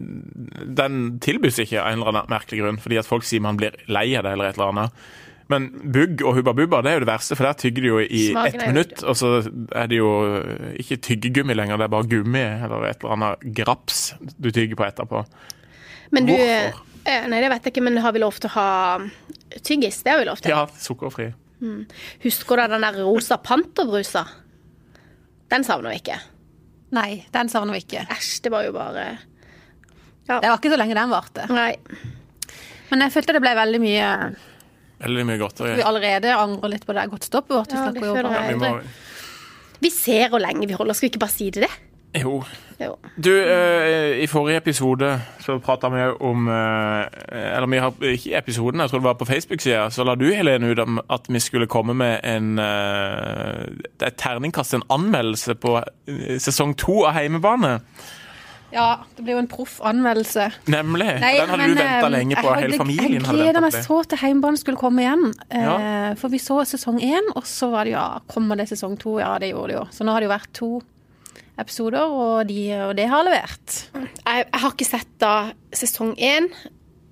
S1: den tilbys ikke av en eller annen merkelig grunn, fordi at folk sier man blir lei av det eller et eller annet. Men bugg og hubba bubba det er jo det verste, for der tygger de jo i
S2: Smaken
S1: ett
S2: er jo-
S1: minutt. Og så er det jo eh, ikke tyggegummi lenger, det er bare gummi eller et eller annet graps du tygger på etterpå.
S2: Men du eh,
S1: Hvorfor?
S2: Nei, det vet jeg ikke, men har vi lov til å ha mm, tyggis? Det har vi lov til.
S1: Ja, sukkerfri.
S2: Husker du den der rosa panterbrusa? Den savner vi ikke.
S3: Nei, den savner vi ikke.
S2: Æsj, det var jo bare
S3: Det var ikke så lenge den varte.
S2: Nei.
S3: Men jeg følte det ble veldig mye
S1: Veldig mye godteri.
S3: Vi allerede angrer litt på det godtstoppet vårt. Vi
S2: Ja, det
S3: snakker jo
S2: føler
S3: bare
S2: jeg.
S1: Vi
S3: om
S1: må,
S3: det.
S2: Vi ser hvor lenge vi holder, skal vi ikke bare si det?
S1: jo,
S2: Jo.
S1: Du, eh, i forrige episode så prata vi jo om eh, Eller vi har ikke i episoden, jeg tror det var på Facebook-sida, så la du, Helene, ut om at vi skulle komme med en eh, et terningkast, en anmeldelse på eh, sesong to av Heimebane.
S3: Ja, det blir jo en proff anmeldelse.
S1: Nemlig.
S3: Nei,
S1: Den hadde
S3: men,
S1: du venta
S3: eh,
S1: lenge på,
S3: jeg hadde-
S1: hele familien
S3: Jeg
S1: hadde
S3: gleda
S1: venta
S3: meg
S1: på det.
S3: så til heimbanen skulle komme igjen. Eh,
S1: Ja.
S3: For vi så sesong én, og så var det ja, kommer det sesong to? Ja, det gjorde det jo. Så nå har det jo vært to episoder, og, de, og det har levert.
S2: Jeg, jeg har ikke sett da sesong én.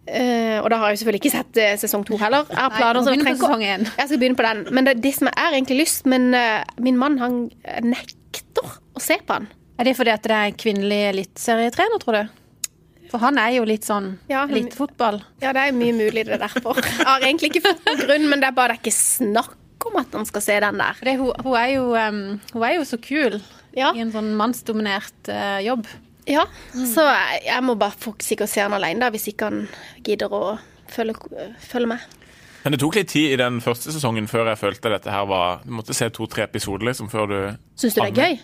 S2: eh, og da har jeg jo selvfølgelig ikke sett eh, sesong to heller. Jeg har
S3: Nei,
S2: planer,
S3: nå
S2: så jeg
S3: begynner på
S2: trenger ikke å-
S3: sesong én.
S2: Jeg skal begynne på den. Men det, er det som jeg har egentlig lyst Men eh, min mann han eh, nekter å se på den.
S3: Er det fordi at det er en kvinnelig eliteserietrener, tror du? For han er jo litt sånn
S2: Ja, han-
S3: elitefotball.
S2: Ja, det er mye mulig det er derfor. Jeg har egentlig ikke fått noen grunn, men det er bare det er ikke snakk om at han skal se den der.
S3: For det, hun, hun, er jo, em, hun er jo så kul
S2: Ja.
S3: i en sånn mannsdominert eh, jobb.
S2: Ja, så jeg, jeg må bare få sikkert se han alene, da, hvis ikke han gidder å følge, følge med.
S1: Men det tok litt tid i den første sesongen før jeg følte dette her var Du måtte se to-tre episoder liksom før du
S2: Syns du det er gøy?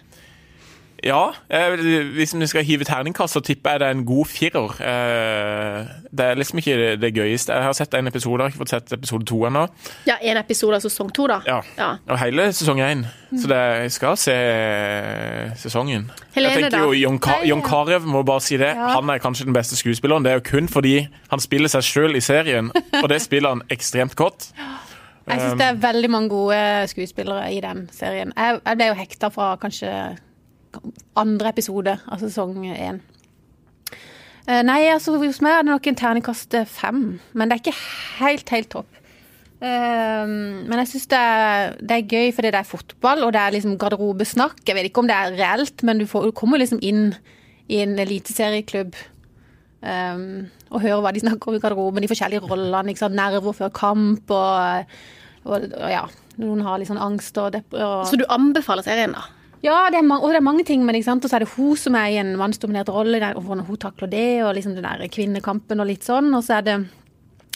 S1: Ja. Eh, hvis vi skal hive terningkast, så tipper jeg det er en god firer. Eh, det er liksom ikke det, det gøyeste. Jeg har sett en episode, jeg har ikke fått sett episode to ennå.
S2: Ja, en episode av sesong to, da.
S1: Ja.
S2: Ja.
S1: Og hele sesong én. Så det, jeg skal se eh, sesongen.
S2: Helene,
S1: jeg tenker jo
S2: da?
S1: Jon, Ka
S3: Nei, ja.
S1: Jon Carew, må bare si det. Han er kanskje den beste skuespilleren. Det er jo kun fordi han spiller seg sjøl i serien, og det spiller han ekstremt godt.
S3: Jeg syns det er veldig mange gode eh, skuespillere i den serien. Jeg, jeg ble jo hekta fra kanskje andre episode av sesong én. Eh, Nei, altså hos meg er det nok en terningkast eh, fem, men det er ikke helt, helt topp. Eh, men jeg syns det, er- det er gøy fordi det er fotball, og det er liksom garderobesnakk. Jeg vet ikke om det er reelt, men du, får, du kommer liksom inn i en eliteserieklubb eh, um, og høre hva de snakker om i garderoben, de forskjellige rollene. Ikke sant? Nerver før kamp og Og, og ja, noen har litt sånn angst og dep... Og,
S2: Så du anbefaler serien, da?
S3: ja, det er mange, og det er mange ting, men ikke sant? Og så er det hun som er i en mannsdominert rolle, der, og hvordan hun takler det, og liksom den der kvinnekampen og litt sånn. Og så er det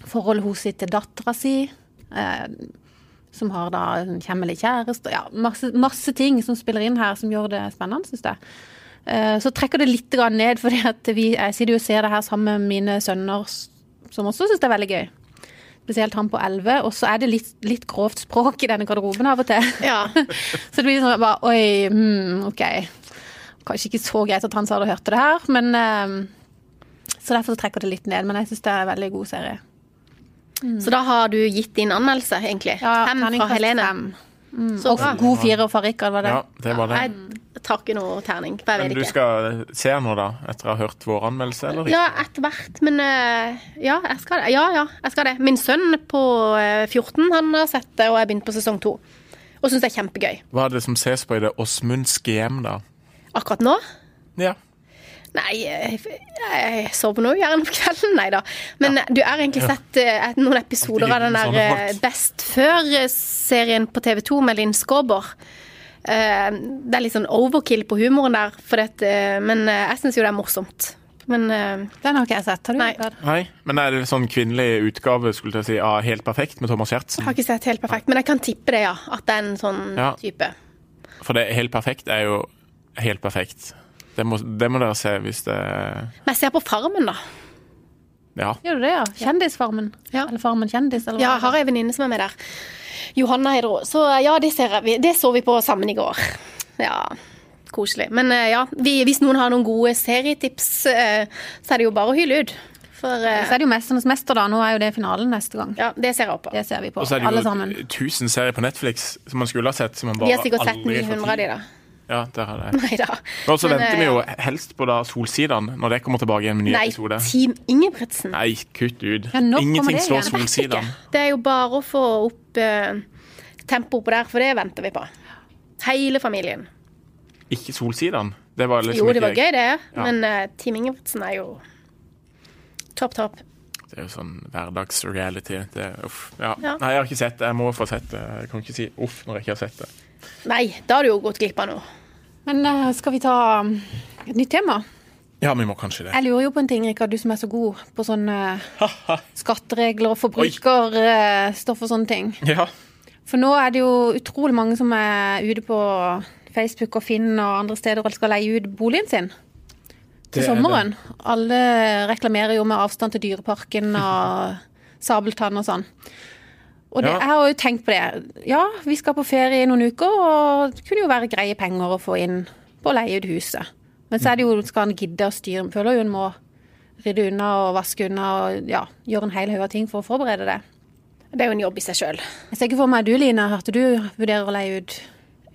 S3: forholdet hun sitter til dattera si, eh, som har da en kjemmelig kjæreste. Ja, masse, masse ting som spiller inn her, som gjør det spennende, syns jeg. Eh, så trekker det litt grann ned, for jeg sitter jo og ser det her sammen med mine sønner, s- som også syns det er veldig gøy. Spesielt han på 11. Og så er det litt, litt grovt språk i denne garderoben av og til.
S2: Ja.
S3: Så det blir sånn bare Oi, hmm, OK. Kanskje ikke så greit at han sa det og hørte det her, men eh, Så derfor så trekker det litt ned. Men jeg syns det er en veldig god serie.
S2: Mm. Så da har du gitt din anmeldelse, egentlig. Fem fra
S3: terningkast
S2: Helene.
S3: fem. Mm.
S2: Så
S3: Og
S2: bra.
S3: god firer fra Rikard, var det?
S1: Ja, det var det.
S2: Jeg tar ikke noe terning, for jeg
S1: Men
S2: vet
S1: du
S2: ikke.
S1: skal se nå, da? Etter å ha hørt vår anmeldelse, eller ikke?
S2: Ja, etter hvert, men eh, ja, jeg skal det. Ja, ja, jeg skal det. Min sønn på eh, 14 han har sett det, og jeg begynte på sesong to. Og syns det er kjempegøy.
S1: Hva er det som ses på i det Åsmundske hjem, da?
S2: Akkurat nå
S1: Ja.
S2: Nei, jeg, jeg sover nå gjerne på kvelden, nei da. Men du har egentlig sett eh, et- noen episoder av den
S1: Alltid
S2: der
S1: litt
S2: eh,
S1: sånn
S2: Best før-serien på TV 2 med Linn Skåber. Eh, Det er litt sånn overkill på humoren der, for det, at, eh, men eh, jeg syns jo det er morsomt. Men eh,
S3: Den har ikke jeg sett. Har du?
S2: Nei.
S3: Rikard?
S1: Hei. Men er det en sånn kvinnelig utgave skulle jeg si, av Helt perfekt med Thomas
S2: jeg
S1: Giertsen?
S2: har ikke sett helt perfekt. Men jeg kan tippe det, ja. At det er en sånn
S1: Ja.
S2: type.
S1: For det Helt perfekt er jo helt perfekt. Det må, det må dere se hvis det
S2: Men jeg ser på Farmen, da.
S1: Ja.
S3: Gjør du det, ja? Kjendisfarmen?
S2: Ja.
S3: Eller Farmen kjendis? Eller
S2: Ja,
S3: hva?
S2: jeg har ei venninne som er med der. Johanna heter hun. Så ja, det, ser jeg. Vi- det så vi på sammen i går. Ja, koselig. Men eh, ja, vi, hvis noen har noen gode serietips, eh, så er det jo bare å hyle ut. For eh,
S3: Så er det jo 'Mesternes mester', da. Nå er jo det finalen neste gang.
S2: ja, det ser jeg opp på.
S3: Det ser vi på,
S1: Og så er
S3: alle
S1: det
S3: sammen.
S1: jo tusen serier på Netflix som man skulle ha sett. Som man bare
S2: Vi har sikkert sett
S1: aldri får
S2: 900 av de,
S1: tid.
S2: da.
S1: Ja, der er det.
S2: Nei da.
S1: Og så
S2: Men,
S1: venter vi
S2: eh,
S1: jo helst på da Solsidan, når det kommer tilbake igjen med ny
S2: Nei,
S1: episode.
S2: Team Ingebrigtsen.
S1: Nei, kutt ut.
S3: Ja, nå kommer
S1: Ingenting
S3: det
S1: slår
S3: igjen.
S1: Solsidan.
S2: Det er jo bare å få opp eh, tempoet på der, for det venter vi på. Hele familien.
S1: Ikke Solsidan. Det var liksom
S2: Jo, det var
S1: ikke
S2: gøy, det.
S1: Ja.
S2: Men eh, Team Ingebrigtsen er jo topp, topp.
S1: Det er jo sånn hverdagsreality. Det, uff. Ja.
S2: Ja.
S1: Nei, jeg har ikke sett det. Jeg må få sett det. Jeg kan ikke si uff når jeg ikke har sett det.
S2: Nei, da har du jo gått glipp av noe.
S3: Men eh, skal vi ta um, et nytt tema?
S1: Ja, vi må kanskje det.
S3: Jeg lurer jo på en ting, Rikard, du som er så god på sånne eh, skatteregler og forbrukerstoff og sånne ting.
S1: Ja.
S3: For nå er det jo utrolig mange som er ute på Facebook og Finn og andre steder og skal leie ut boligen sin
S1: Det er
S3: til
S1: det.
S3: sommeren. Alle reklamerer jo med avstand til Dyreparken og Sabeltann og sånn. Og det,
S1: Ja.
S3: jeg har jo tenkt på det. Ja, vi skal på ferie i noen uker, og det kunne jo være greie penger å få inn på å leie ut huset. Men så er det jo, skal en gidde å styre, føler jo en må rydde unna og vaske unna og ja, gjøre en hel haug av ting for å forberede det.
S2: Det er jo en jobb i seg sjøl.
S3: Jeg ser ikke for meg du, Line, hørte du vurderer å leie ut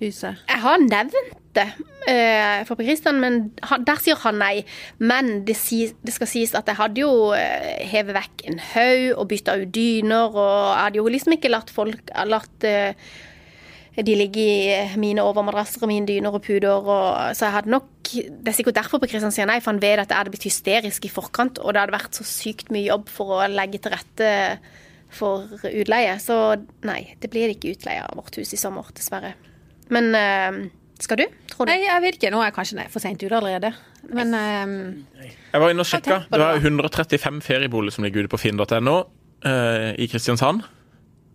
S3: huset.
S2: Jeg har nevnt det eh, for Per Kristian, men han, der sier han nei. Men det, sies- det skal sies at jeg hadde jo eh, hevet vekk en haug og bytta ut dyner, og jeg hadde jo liksom ikke latt folk latt eh, de ligge i eh, mine overmadrasser og mine dyner og puder. Og, så jeg hadde nok Det er sikkert derfor Per Kristian sier nei, for han vet at jeg hadde blitt hysterisk i forkant, og det hadde vært så sykt mye jobb for å legge til rette for utleie. Så nei, det blir ikke utleie av vårt hus i sommer, dessverre. Men eh, skal du, tror du?
S3: Nei, jeg vet ikke. Nå er jeg kanskje for seint ute allerede. Men ehm,
S1: Jeg var inne og sjekka.
S3: tenk på
S1: Det
S3: det,
S1: var 135 ferieboliger som ligger ute på finn.no eh, i Kristiansand.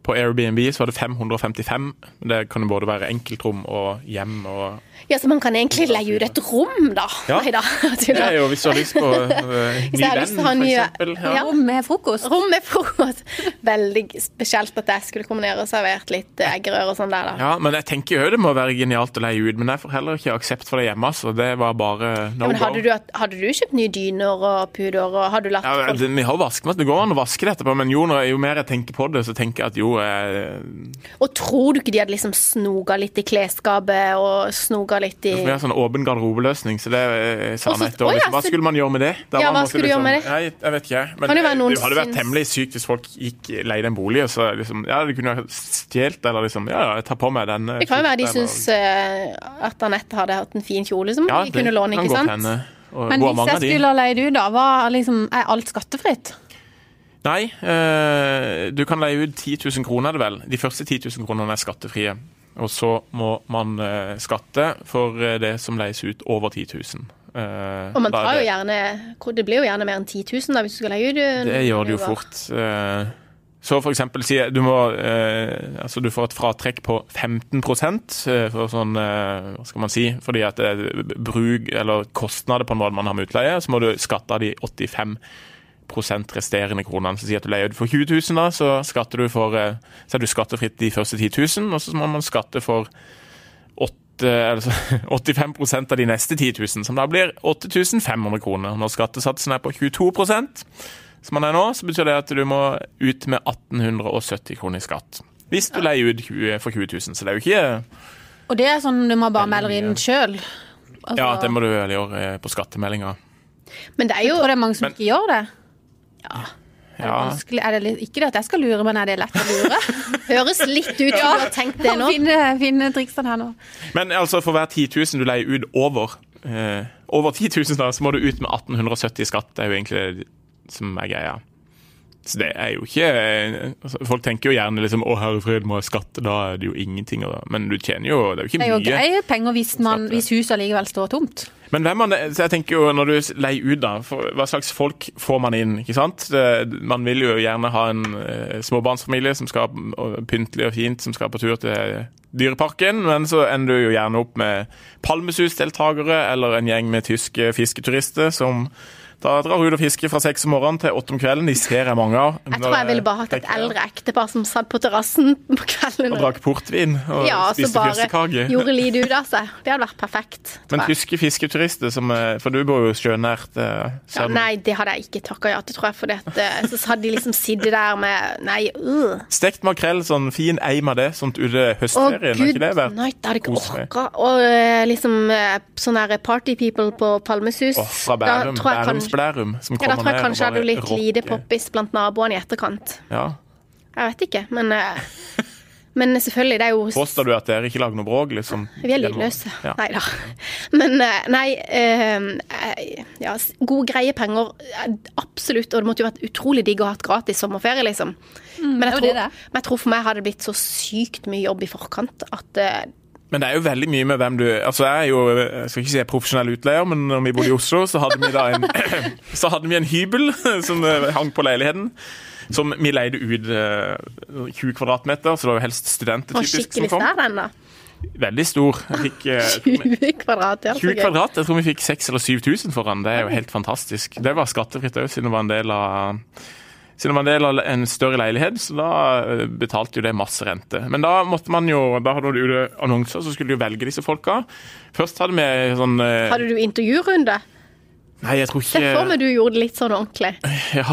S1: På Airbnb så var det 555. Det kan jo både være enkeltrom og hjem og
S2: Ja, så man kan egentlig leie ut et rom, da.
S1: Ja.
S2: Nei da.
S1: Det er jo hvis du har lyst på eh, ny
S2: Hvis jeg har
S1: venn,
S2: lyst til å ha en
S1: for
S2: ny-
S1: eksempel. Ja.
S3: rom med frokost.
S2: Rom er frokost. Veldig spesielt at jeg skulle komme ned og servert litt eh, eggerøre og sånn der, da.
S1: ja, men jeg tenker jo det må være genialt å leie ut, men jeg får heller ikke aksept for det hjemme, så det var bare no
S2: Ja, men hadde
S1: go.
S2: du, hadde du kjøpt nye dyner og puder, og hadde du latt
S1: Ja,
S2: folk
S1: det, vi har vaskemaskin. Det går an å vaske det etterpå, men jo, når, jo mer jeg tenker på det, så tenker jeg at jo eh,
S2: Og tror du ikke de hadde liksom snoga litt i klesskapet og snoga litt i
S1: Vi har sånn åpen garderobeløsning, så det eh, sa
S2: Eh. Og så-
S1: han etter.
S2: Å, ja,
S1: liksom, hva
S2: så-
S1: skulle man gjøre med det? Da
S2: Ja,
S1: var-
S2: hva
S1: måtte
S2: skulle du gjøre med det?
S1: Nei, jeg vet ikke. Men eh,
S2: Kan det
S1: det,
S2: være noen
S1: hadde vært
S2: syns-
S1: temmelig sykt hvis folk gikk leide en bolig, og så liksom Ja, de kunne ha stjålet eller liksom Ja, ja, jeg tar på meg den. eh,
S2: Det kan jo være de syns at Anette hadde hatt en fin kjole som de kunne låne, ikke sant?
S1: Og
S3: Men
S1: hvor
S3: hvis
S1: mange
S3: jeg
S1: av de?
S3: skulle ha leid ut, da, hva er liksom, er alt skattefritt?
S1: Nei, eh, du kan leie ut 10 000 kroner, er det vel. De første 10 000 kronene er skattefrie. Og så må man eh, skatte for eh, det som leies ut over 10 000. Eh,
S2: Og man
S1: da er
S2: tar jo
S1: det-
S2: gjerne Det blir jo gjerne mer enn 10 000 da, hvis du skal leie ut. en-
S1: Det gjør det jo fort. eh. Så for eksempel sier du må eh, Altså du får et fratrekk på 15 eh, for sånn eh, Hva skal man si? Fordi at det er bruk eller kostnader på en måte man har med utleie, så må du skatte av de 85 resterende kronene. Så sier at du leier ut for 20 000, da, så, skatter du for, eh, så er du skattefritt de første 10 000, og så må man skatte for åtte- altså, 85 av de neste 10 000, som da blir 8500 kroner. Når skattesatsen er på 22 som man er nå, så betyr det at du må ut med 1870 kroner i skatt. Hvis du leier ut 20, for 20 000, så det er jo ikke
S3: Og det er sånn du må bare melde det inn sjøl. Altså,
S1: Ja, det må du vel gjøre eh, på skattemeldinga.
S2: Men det er jo
S3: Jeg tror det er mange som ikke gjør det. Er det
S1: Ja.
S3: vanskelig? Er det litt, ikke det at jeg skal lure, men er det lett å lure?
S2: høres litt ut som du har tenkt det nå.
S3: finne, finne triksene her nå.
S1: Men altså, for hver 10 000 du leier ut over, eh, over 10 000, da, så må du ut med 1870 i skatt. Det er jo egentlig det som er greia. Så det er jo ikke eh, altså, Folk tenker jo gjerne liksom 'Å, herre fred, må jeg skatte?' Da er det jo ingenting. Og, men du tjener jo Det er jo ikke
S3: Det er jo
S1: mye.
S3: greie penger hvis, man,
S1: Skatter.
S3: hvis huset allikevel står tomt.
S1: Men hvem man, så jeg tenker jo når du leier ut da, for, hva slags folk får man inn, ikke sant? Det, man vil jo gjerne ha en eh, småbarnsfamilie som skal og pyntelig og fint, som skal på tur til dyreparken, men så ender du jo gjerne opp med palmesusdeltagere eller en gjeng med tyske fisketurister som da drar ut og fisker fra seks om morgenen til åtte om kvelden. De ser jeg mange av.
S2: Jeg tror jeg
S1: eh,
S2: ville bare hatt et eldre ektepar som satt på terrassen på kvelden
S1: Og drakk portvin og
S2: ja, og så
S1: spiste
S2: bare
S1: fyrstekake.
S2: gjorde livet ut av seg. Det hadde vært perfekt. tror
S1: Men
S2: jeg.
S1: tyske fisketurister, som, eh, for du bor jo sjønært eh,
S2: ja,
S1: selv-
S2: nei, det hadde jeg ikke takka ja til, tror jeg. For det at, eh, så hadde de liksom sittet der med Nei, øh.
S1: Stekt makrell, sånn fin eim av det, sånt ute
S2: Å,
S1: høstferien. er
S2: gud,
S1: ikke det verdt?
S2: nei, det hadde jeg ikke
S1: kos meg?
S2: orka. Og eh, liksom eh, sånne her party people på Palmesus.
S1: Åh, fra Bærum.
S2: Da tror jeg
S1: Bærums
S2: kanskje,
S1: Blærum. Som
S2: ja,
S1: kommer ned
S2: da tror jeg
S1: og
S2: kanskje jeg
S1: bare
S2: hadde blitt lite
S1: rocker.
S2: poppis blant naboene i etterkant.
S1: Ja.
S2: Jeg vet ikke, men eh, Men selvfølgelig, det er jo
S1: Påstår du at dere ikke lager noe bråk, liksom?
S2: Vi er lydløse.
S1: Ja.
S2: Nei da. Men eh, nei eh, eh, ja, s- Gode, greie penger. eh, Absolutt. Og det måtte jo vært utrolig digg å ha hatt gratis sommerferie, liksom. men, jeg
S3: Mm, det er jo det
S2: tror,
S3: det er.
S2: men jeg tror for meg hadde det blitt så sykt mye jobb i forkant at eh,
S1: Men det er jo veldig mye med hvem du Altså, jeg er jo Jeg skal ikke si jeg er profesjonell utleier, men når vi bodde i Oslo, så hadde vi da en Så hadde vi en hybel som eh, hang på leiligheten. Som vi leide ut eh, 20 kvadratmeter, så det var jo helst studenter
S2: var
S1: typisk som
S2: skikkelig
S1: kom.
S2: stær den, da.
S1: Veldig stor. Jeg fikk, eh, jeg tror vi-
S2: 20 kvadrat. Ja, så
S1: 20
S2: gøy.
S1: kvadrat, jeg tror vi fikk 6000 eller 7000 for den. Det er jo helt fantastisk. Det var skattefritt òg, siden det var en del av siden det var en del av en større leilighet, så da eh, betalte jo det masse rente. Men da måtte man jo, da hadde du jo annonser, så skulle du velge disse folka. Først hadde vi sånn eh,
S2: Hadde du intervjurunde?
S1: Nei, jeg tror
S2: Se for
S1: ikke
S2: meg du gjorde det litt sånn ordentlig.
S1: ja,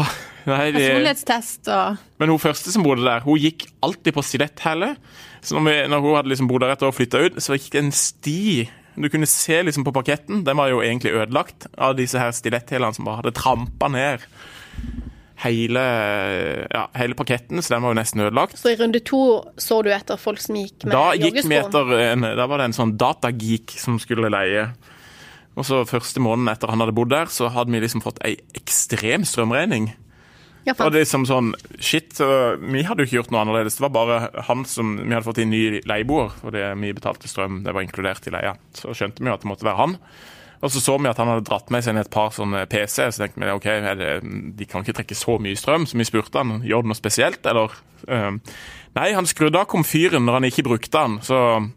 S1: nei, de,
S3: Personlighetstest og
S1: Men hun første som bodde der, hun gikk alltid på stilletthæle. Så når, vi, når hun hadde liksom bodd der et år og flytta ut, så gikk det en sti du kunne se liksom på parketten, den var jo egentlig ødelagt av disse her stiletthælene som bare hadde trampa ned hele, ja, hele parketten, så den var jo nesten ødelagt.
S2: Så i runde to så du etter folk som gikk med
S1: Da gikk vi
S2: joggesko.
S1: etter en, Da var det en sånn datageek som skulle leie. Og så Første måneden etter han hadde bodd der, så hadde vi liksom fått ei ekstrem strømregning.
S2: Ja,
S1: Og
S2: faen.
S1: det er liksom sånn, shit, så Vi hadde jo ikke gjort noe annerledes. Det var bare han som Vi hadde fått inn ny leieboer, og det vi betalte strøm, det var inkludert i leia. Så skjønte vi jo at det måtte være han. Og så så vi at han hadde dratt med seg ned et par sånne PC, så tenkte vi ok, er det, de kan ikke trekke så mye strøm, så vi spurte han gjør det noe spesielt, eller Ehm, Nei, han skrudde av komfyren når han ikke brukte den, så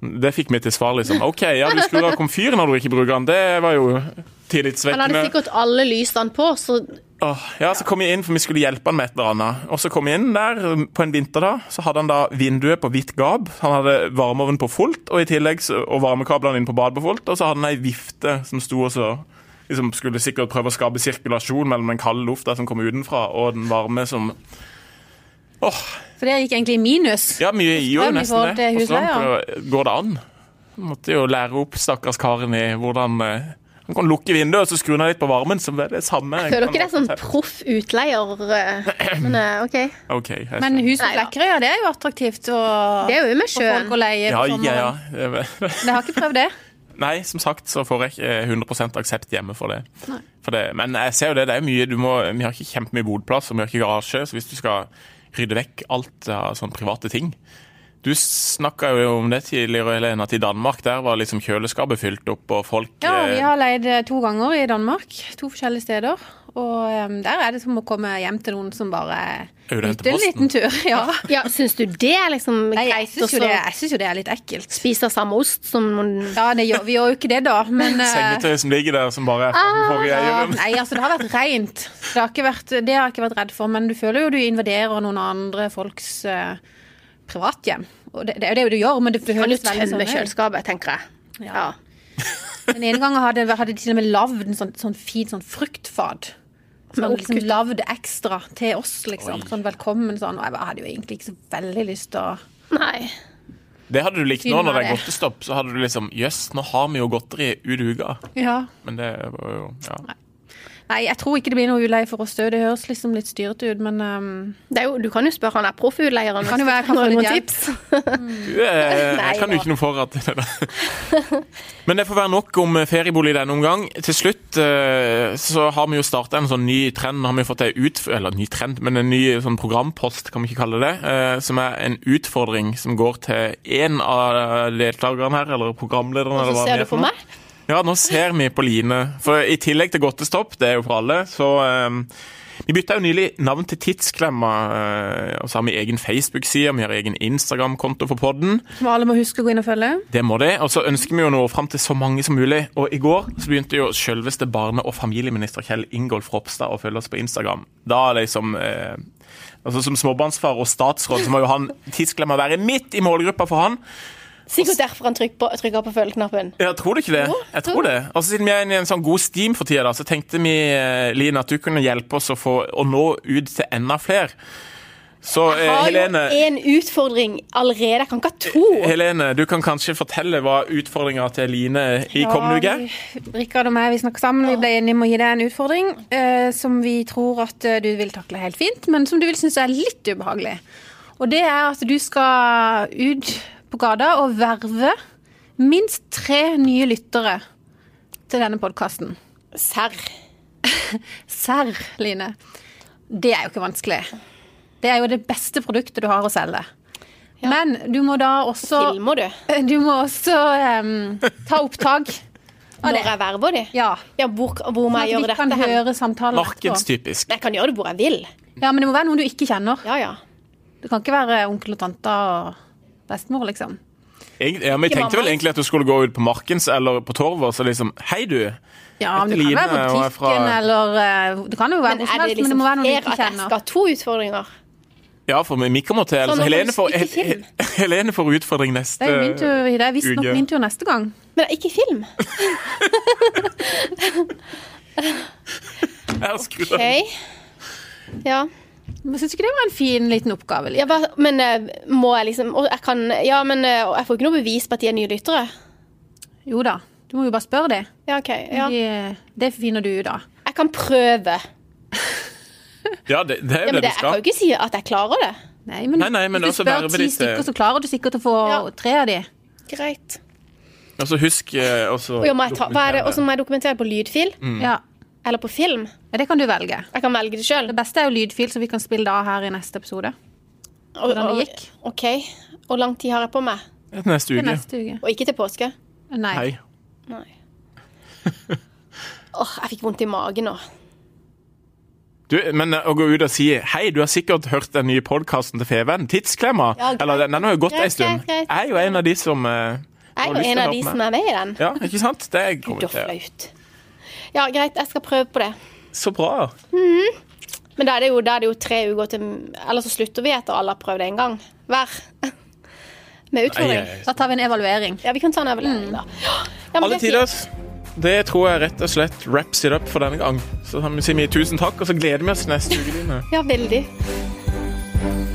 S1: det fikk vi til svar, liksom. OK, ja, du skrudde av komfyren når du ikke bruker den, det var jo
S2: Han hadde
S1: tillitsvekkende.
S2: sikkert alle lysene på, så
S1: Åh, ja, så kom jeg inn, for vi skulle hjelpe han med et eller annet. Og så kom jeg inn der um, på en vinter da, så hadde han da vinduet på hvitt gab, han hadde varmeovnen på fullt, og i tillegg så, og varmekablene inn på badet på fullt, og så hadde han ei vifte som sto og så liksom skulle sikkert prøve å skape sirkulasjon mellom den kalde lufta som kom utenfra, og den varme som Åh,
S3: For det gikk egentlig i minus.
S1: ja, mye i jo
S3: Strøm i
S1: nesten det.
S3: forhold til
S1: Og strøm,
S3: husleia.
S1: for Går det an? Måtte jo lære opp stakkars karen i hvordan eh, han kan lukke vinduet og så skru ned litt på varmen, så det er det samme.
S2: Føler dere det er sånn proff utleier? eh, Men eh, OK.
S1: Ok, jeg
S3: Men
S1: skjønner.
S3: hus på
S2: Nei da.
S3: Flekkerøy, ja, det er jo attraktivt. Og
S2: Det er jo med
S3: for folk
S2: sjøen.
S3: å leie på
S1: Ja,
S3: sommeren.
S1: ja, ja.
S3: Men Jeg har ikke prøvd det.
S1: Nei, som sagt så får jeg ikke eh, 100 aksept hjemme for det.
S3: Nei.
S1: for det. Men jeg ser jo det, det er jo mye du må, Vi har ikke kjempemye bodplass, og vi har ikke garasje, så hvis du skal rydde vekk alt av sånne private ting Du snakka jo om det tidligere, Helene, at i Danmark der var liksom kjøleskapet fylt opp, og folk
S3: Ja, vi
S1: eh,
S3: har leid eh, to ganger i Danmark. To forskjellige steder. Og em, der er det som å komme hjem til noen som bare
S1: Er det
S3: ute en
S1: posten?
S3: liten tur. Ja.
S2: Ja, Syns du det er liksom
S3: Nei, jeg
S2: greit å
S3: syns jo, det- jeg synes jo det er litt ekkelt.
S2: spise samme ost som noen
S3: Ja, det gjør, vi gjør jo ikke det, da, men eh,
S1: Sengetøy som ligger der, som bare er fra den forrige
S3: Ah, ja,
S1: eieren.
S3: Nei, altså, det har vært rent. Det har, ikke vært, det har jeg ikke vært redd for, men du føler jo du invaderer noen andre folks eh, privathjem. Og det, det er jo det du gjør, men det
S2: kan jo
S3: føles veldig sånn.
S2: tømme kjøleskapet, tenker jeg.
S3: Ja.
S2: Ja.
S3: Den ene gangen hadde, hadde de til og med lagd en sånn, sånn fin sånn fruktfat. Sånn,
S2: oppkutt.
S3: liksom lagd ekstra til oss, liksom. Sånn velkommen sånn. Og jeg bare hadde jo egentlig ikke så veldig lyst til å
S2: Nei.
S1: Det hadde du likt nå
S3: Finner
S1: når det er
S3: det.
S1: godtestopp. Så hadde du liksom Jøss, nå har vi jo godteri ut uka.
S3: Ja.
S1: Men det var jo ja.
S3: Nei, jeg tror ikke det blir noe uleie for oss òg. Det høres liksom litt styrete ut, men ehm,
S2: Det er jo, du kan jo spørre han der proffutleieren
S3: Kan jo være, jeg kan få
S2: noen
S3: litt
S2: noen
S3: hjelp.
S2: tips.
S1: Du, eh,
S2: Nei,
S1: jeg kan jo
S2: da.
S1: ikke noe for at det der. Men det får være nok om eh, feriebolig i denne omgang. Til slutt eh, så har vi jo starta en sånn ny trend. Nå har vi fått ei ut... Eller ny trend, men en ny sånn programpost, kan vi ikke kalle det. eh, Som er en utfordring som går til én av deltakerne her, eller programlederen, eller
S2: Så
S1: hva vi
S2: ser
S1: er
S2: du på
S1: noe.
S2: meg.
S1: Ja, nå ser vi på Line. For i tillegg til Godtestopp, det er jo for alle, så eh, Vi bytta jo nylig navn til Tidsklemma. eh, og så har vi egen Facebook-side, vi har egen Instagram-konto for podden.
S3: som alle må huske å gå inn og følge.
S1: Det må det. Og så ønsker vi jo nå fram til så mange som mulig. Og i går så begynte jo selveste barne- og familieminister Kjell Ingolf Ropstad å følge oss på Instagram. Da liksom eh, Altså Som småbarnsfar og statsråd så må jo han tidsklemma være midt i målgruppa for han.
S2: Sikkert derfor han trykker på, trykker på følgeknappen.
S1: Ja, tror du ikke det? Jeg tror det. Og så siden vi er inne i en sånn god steam for tida, da, så tenkte vi eh, Line, at du kunne hjelpe oss å, få, å nå ut til enda flere. Så eh,
S2: Har jo
S1: Helene Eh,
S2: en utfordring allerede. Jeg kan ikke ha to.
S1: Helene, du kan kanskje fortelle hva utfordringa til Line i kommende uke
S3: Ja,
S1: er?
S3: vi- Rikard og meg vi snakket sammen. Vi ble enige om å gi deg en utfordring eh, som vi tror at eh, du vil takle helt fint, men som du vil synes er litt ubehagelig. Og det er at du skal ut på gata og verve minst tre nye lyttere til denne podkasten.
S2: Serr.
S3: Serr, Line. Det er jo ikke vanskelig. Det er jo det beste produktet du har å selge. Men du må da også,
S2: Filmer du
S3: du må også em, ta opptak.
S2: når jeg verver de?
S3: Ja,
S2: Ja, hvor, hvor må jeg
S3: Sånn at
S2: gjøre
S3: vi kan
S2: dette hen?
S3: høre samtalen etterpå.
S1: Markedstypisk.
S2: Jeg kan gjøre det hvor jeg vil.
S3: Ja, men det må være noen du ikke kjenner.
S2: Ja, ja.
S3: Det kan ikke være onkel og tante og bestemor, liksom.
S1: Egent- Ja, men jeg
S2: Ikke
S1: tenkte vel
S2: mamma.
S1: egentlig at du skulle gå ut på Markens eller på Torvet og så liksom Hei, du!
S3: Ja, men
S1: Etter
S3: det kan
S1: Line
S3: være
S1: og
S3: på
S1: er
S3: butikken
S1: fra-
S3: eller eh, Det kan jo være
S2: Men
S3: hvor
S2: er
S3: som helst,
S2: det
S3: men det
S2: liksom
S3: må være noen du
S2: flere
S3: ikke
S2: at jeg skal
S3: kjenner.
S2: ha to utfordringer?
S1: Ja, for vi kommer til
S2: Sånn,
S1: altså,
S2: nå må
S1: Helene,
S2: du
S1: får,
S2: ikke film.
S1: Helene får utfordring neste
S3: Det er jo min tur, det er visstnok
S1: Eh, Uge.
S3: min tur neste gang.
S2: Men ikke film.
S1: Jeg har skrudd av.
S2: OK. Ja.
S3: Men Syns du ikke det var en fin liten oppgave? Line?
S2: ja hva, men eh, må jeg liksom og jeg kan, Ja, men eh, jeg får ikke noe bevis på at de er nye lyttere.
S3: Jo da, du må jo bare spørre det.
S2: Ja, OK. Ja.
S3: De, eh, det finner du ut av.
S2: Jeg kan prøve.
S1: Ja, det, det er jo
S2: Ja, men
S1: det
S2: det,
S1: du
S2: jeg kan jo
S1: skal.
S2: ikke si at jeg klarer det.
S3: Nei, men,
S1: Nei, nei, men
S3: hvis
S1: også
S3: du spør
S1: verve
S3: ti
S1: ditt, eh,
S3: stykker, så klarer du sikkert å få
S2: Ja.
S3: tre av de.
S2: Greit.
S1: Og så husk eh, også
S2: Og ja, må jeg ta, hva er det?
S1: dokumentere.
S2: Og så må jeg dokumentere på lydfil
S1: Mm.
S3: Ja.
S2: eller på film.
S3: ja, Det kan du velge.
S2: Jeg kan velge det sjøl.
S3: Det beste er jo lydfil, så vi kan spille det av her i neste episode. Hvordan det gikk.
S2: OK. Hvor lang tid har jeg på meg?
S1: Neste
S3: Til
S1: uke.
S3: neste uke.
S2: Og ikke til påske?
S3: Nei.
S1: Hei.
S2: Nei. Åh, jeg fikk vondt i magen nå.
S1: Du, men eh, å gå ut og si 'Hei, du har sikkert hørt den nye podkasten til Feven, Tidsklemma'.
S2: Ja, greit.
S1: Eller den, den har jo gått
S2: Greit,
S1: ei stund.
S2: greit, greit.
S1: Jeg er jo en av de som eh,
S2: Jeg
S1: har
S2: er
S1: lyst til
S2: jo en
S1: å
S2: av
S1: høre
S2: de
S1: på
S2: som
S1: meg.
S2: er med i den.
S1: Ja, ikke sant? Det kommer
S2: Da
S1: vi til.
S2: flaut. Ja, greit, jeg skal prøve på det.
S1: Så bra.
S2: Men da er det jo, da er det jo tre uker til Eller så slutter vi etter alle har prøvd én gang hver. Med
S1: Nei,
S2: utfordring.
S1: eh,
S3: Da tar vi en evaluering.
S2: Ja, vi kan ta en evaluering, da. Ja, men
S1: Alle
S2: det er
S1: tiders. Det tror jeg rett og slett wraps it up for denne gang. Så sier vi tusen takk, og så gleder vi oss til neste uke. Line.
S2: fint. Ja, veldig.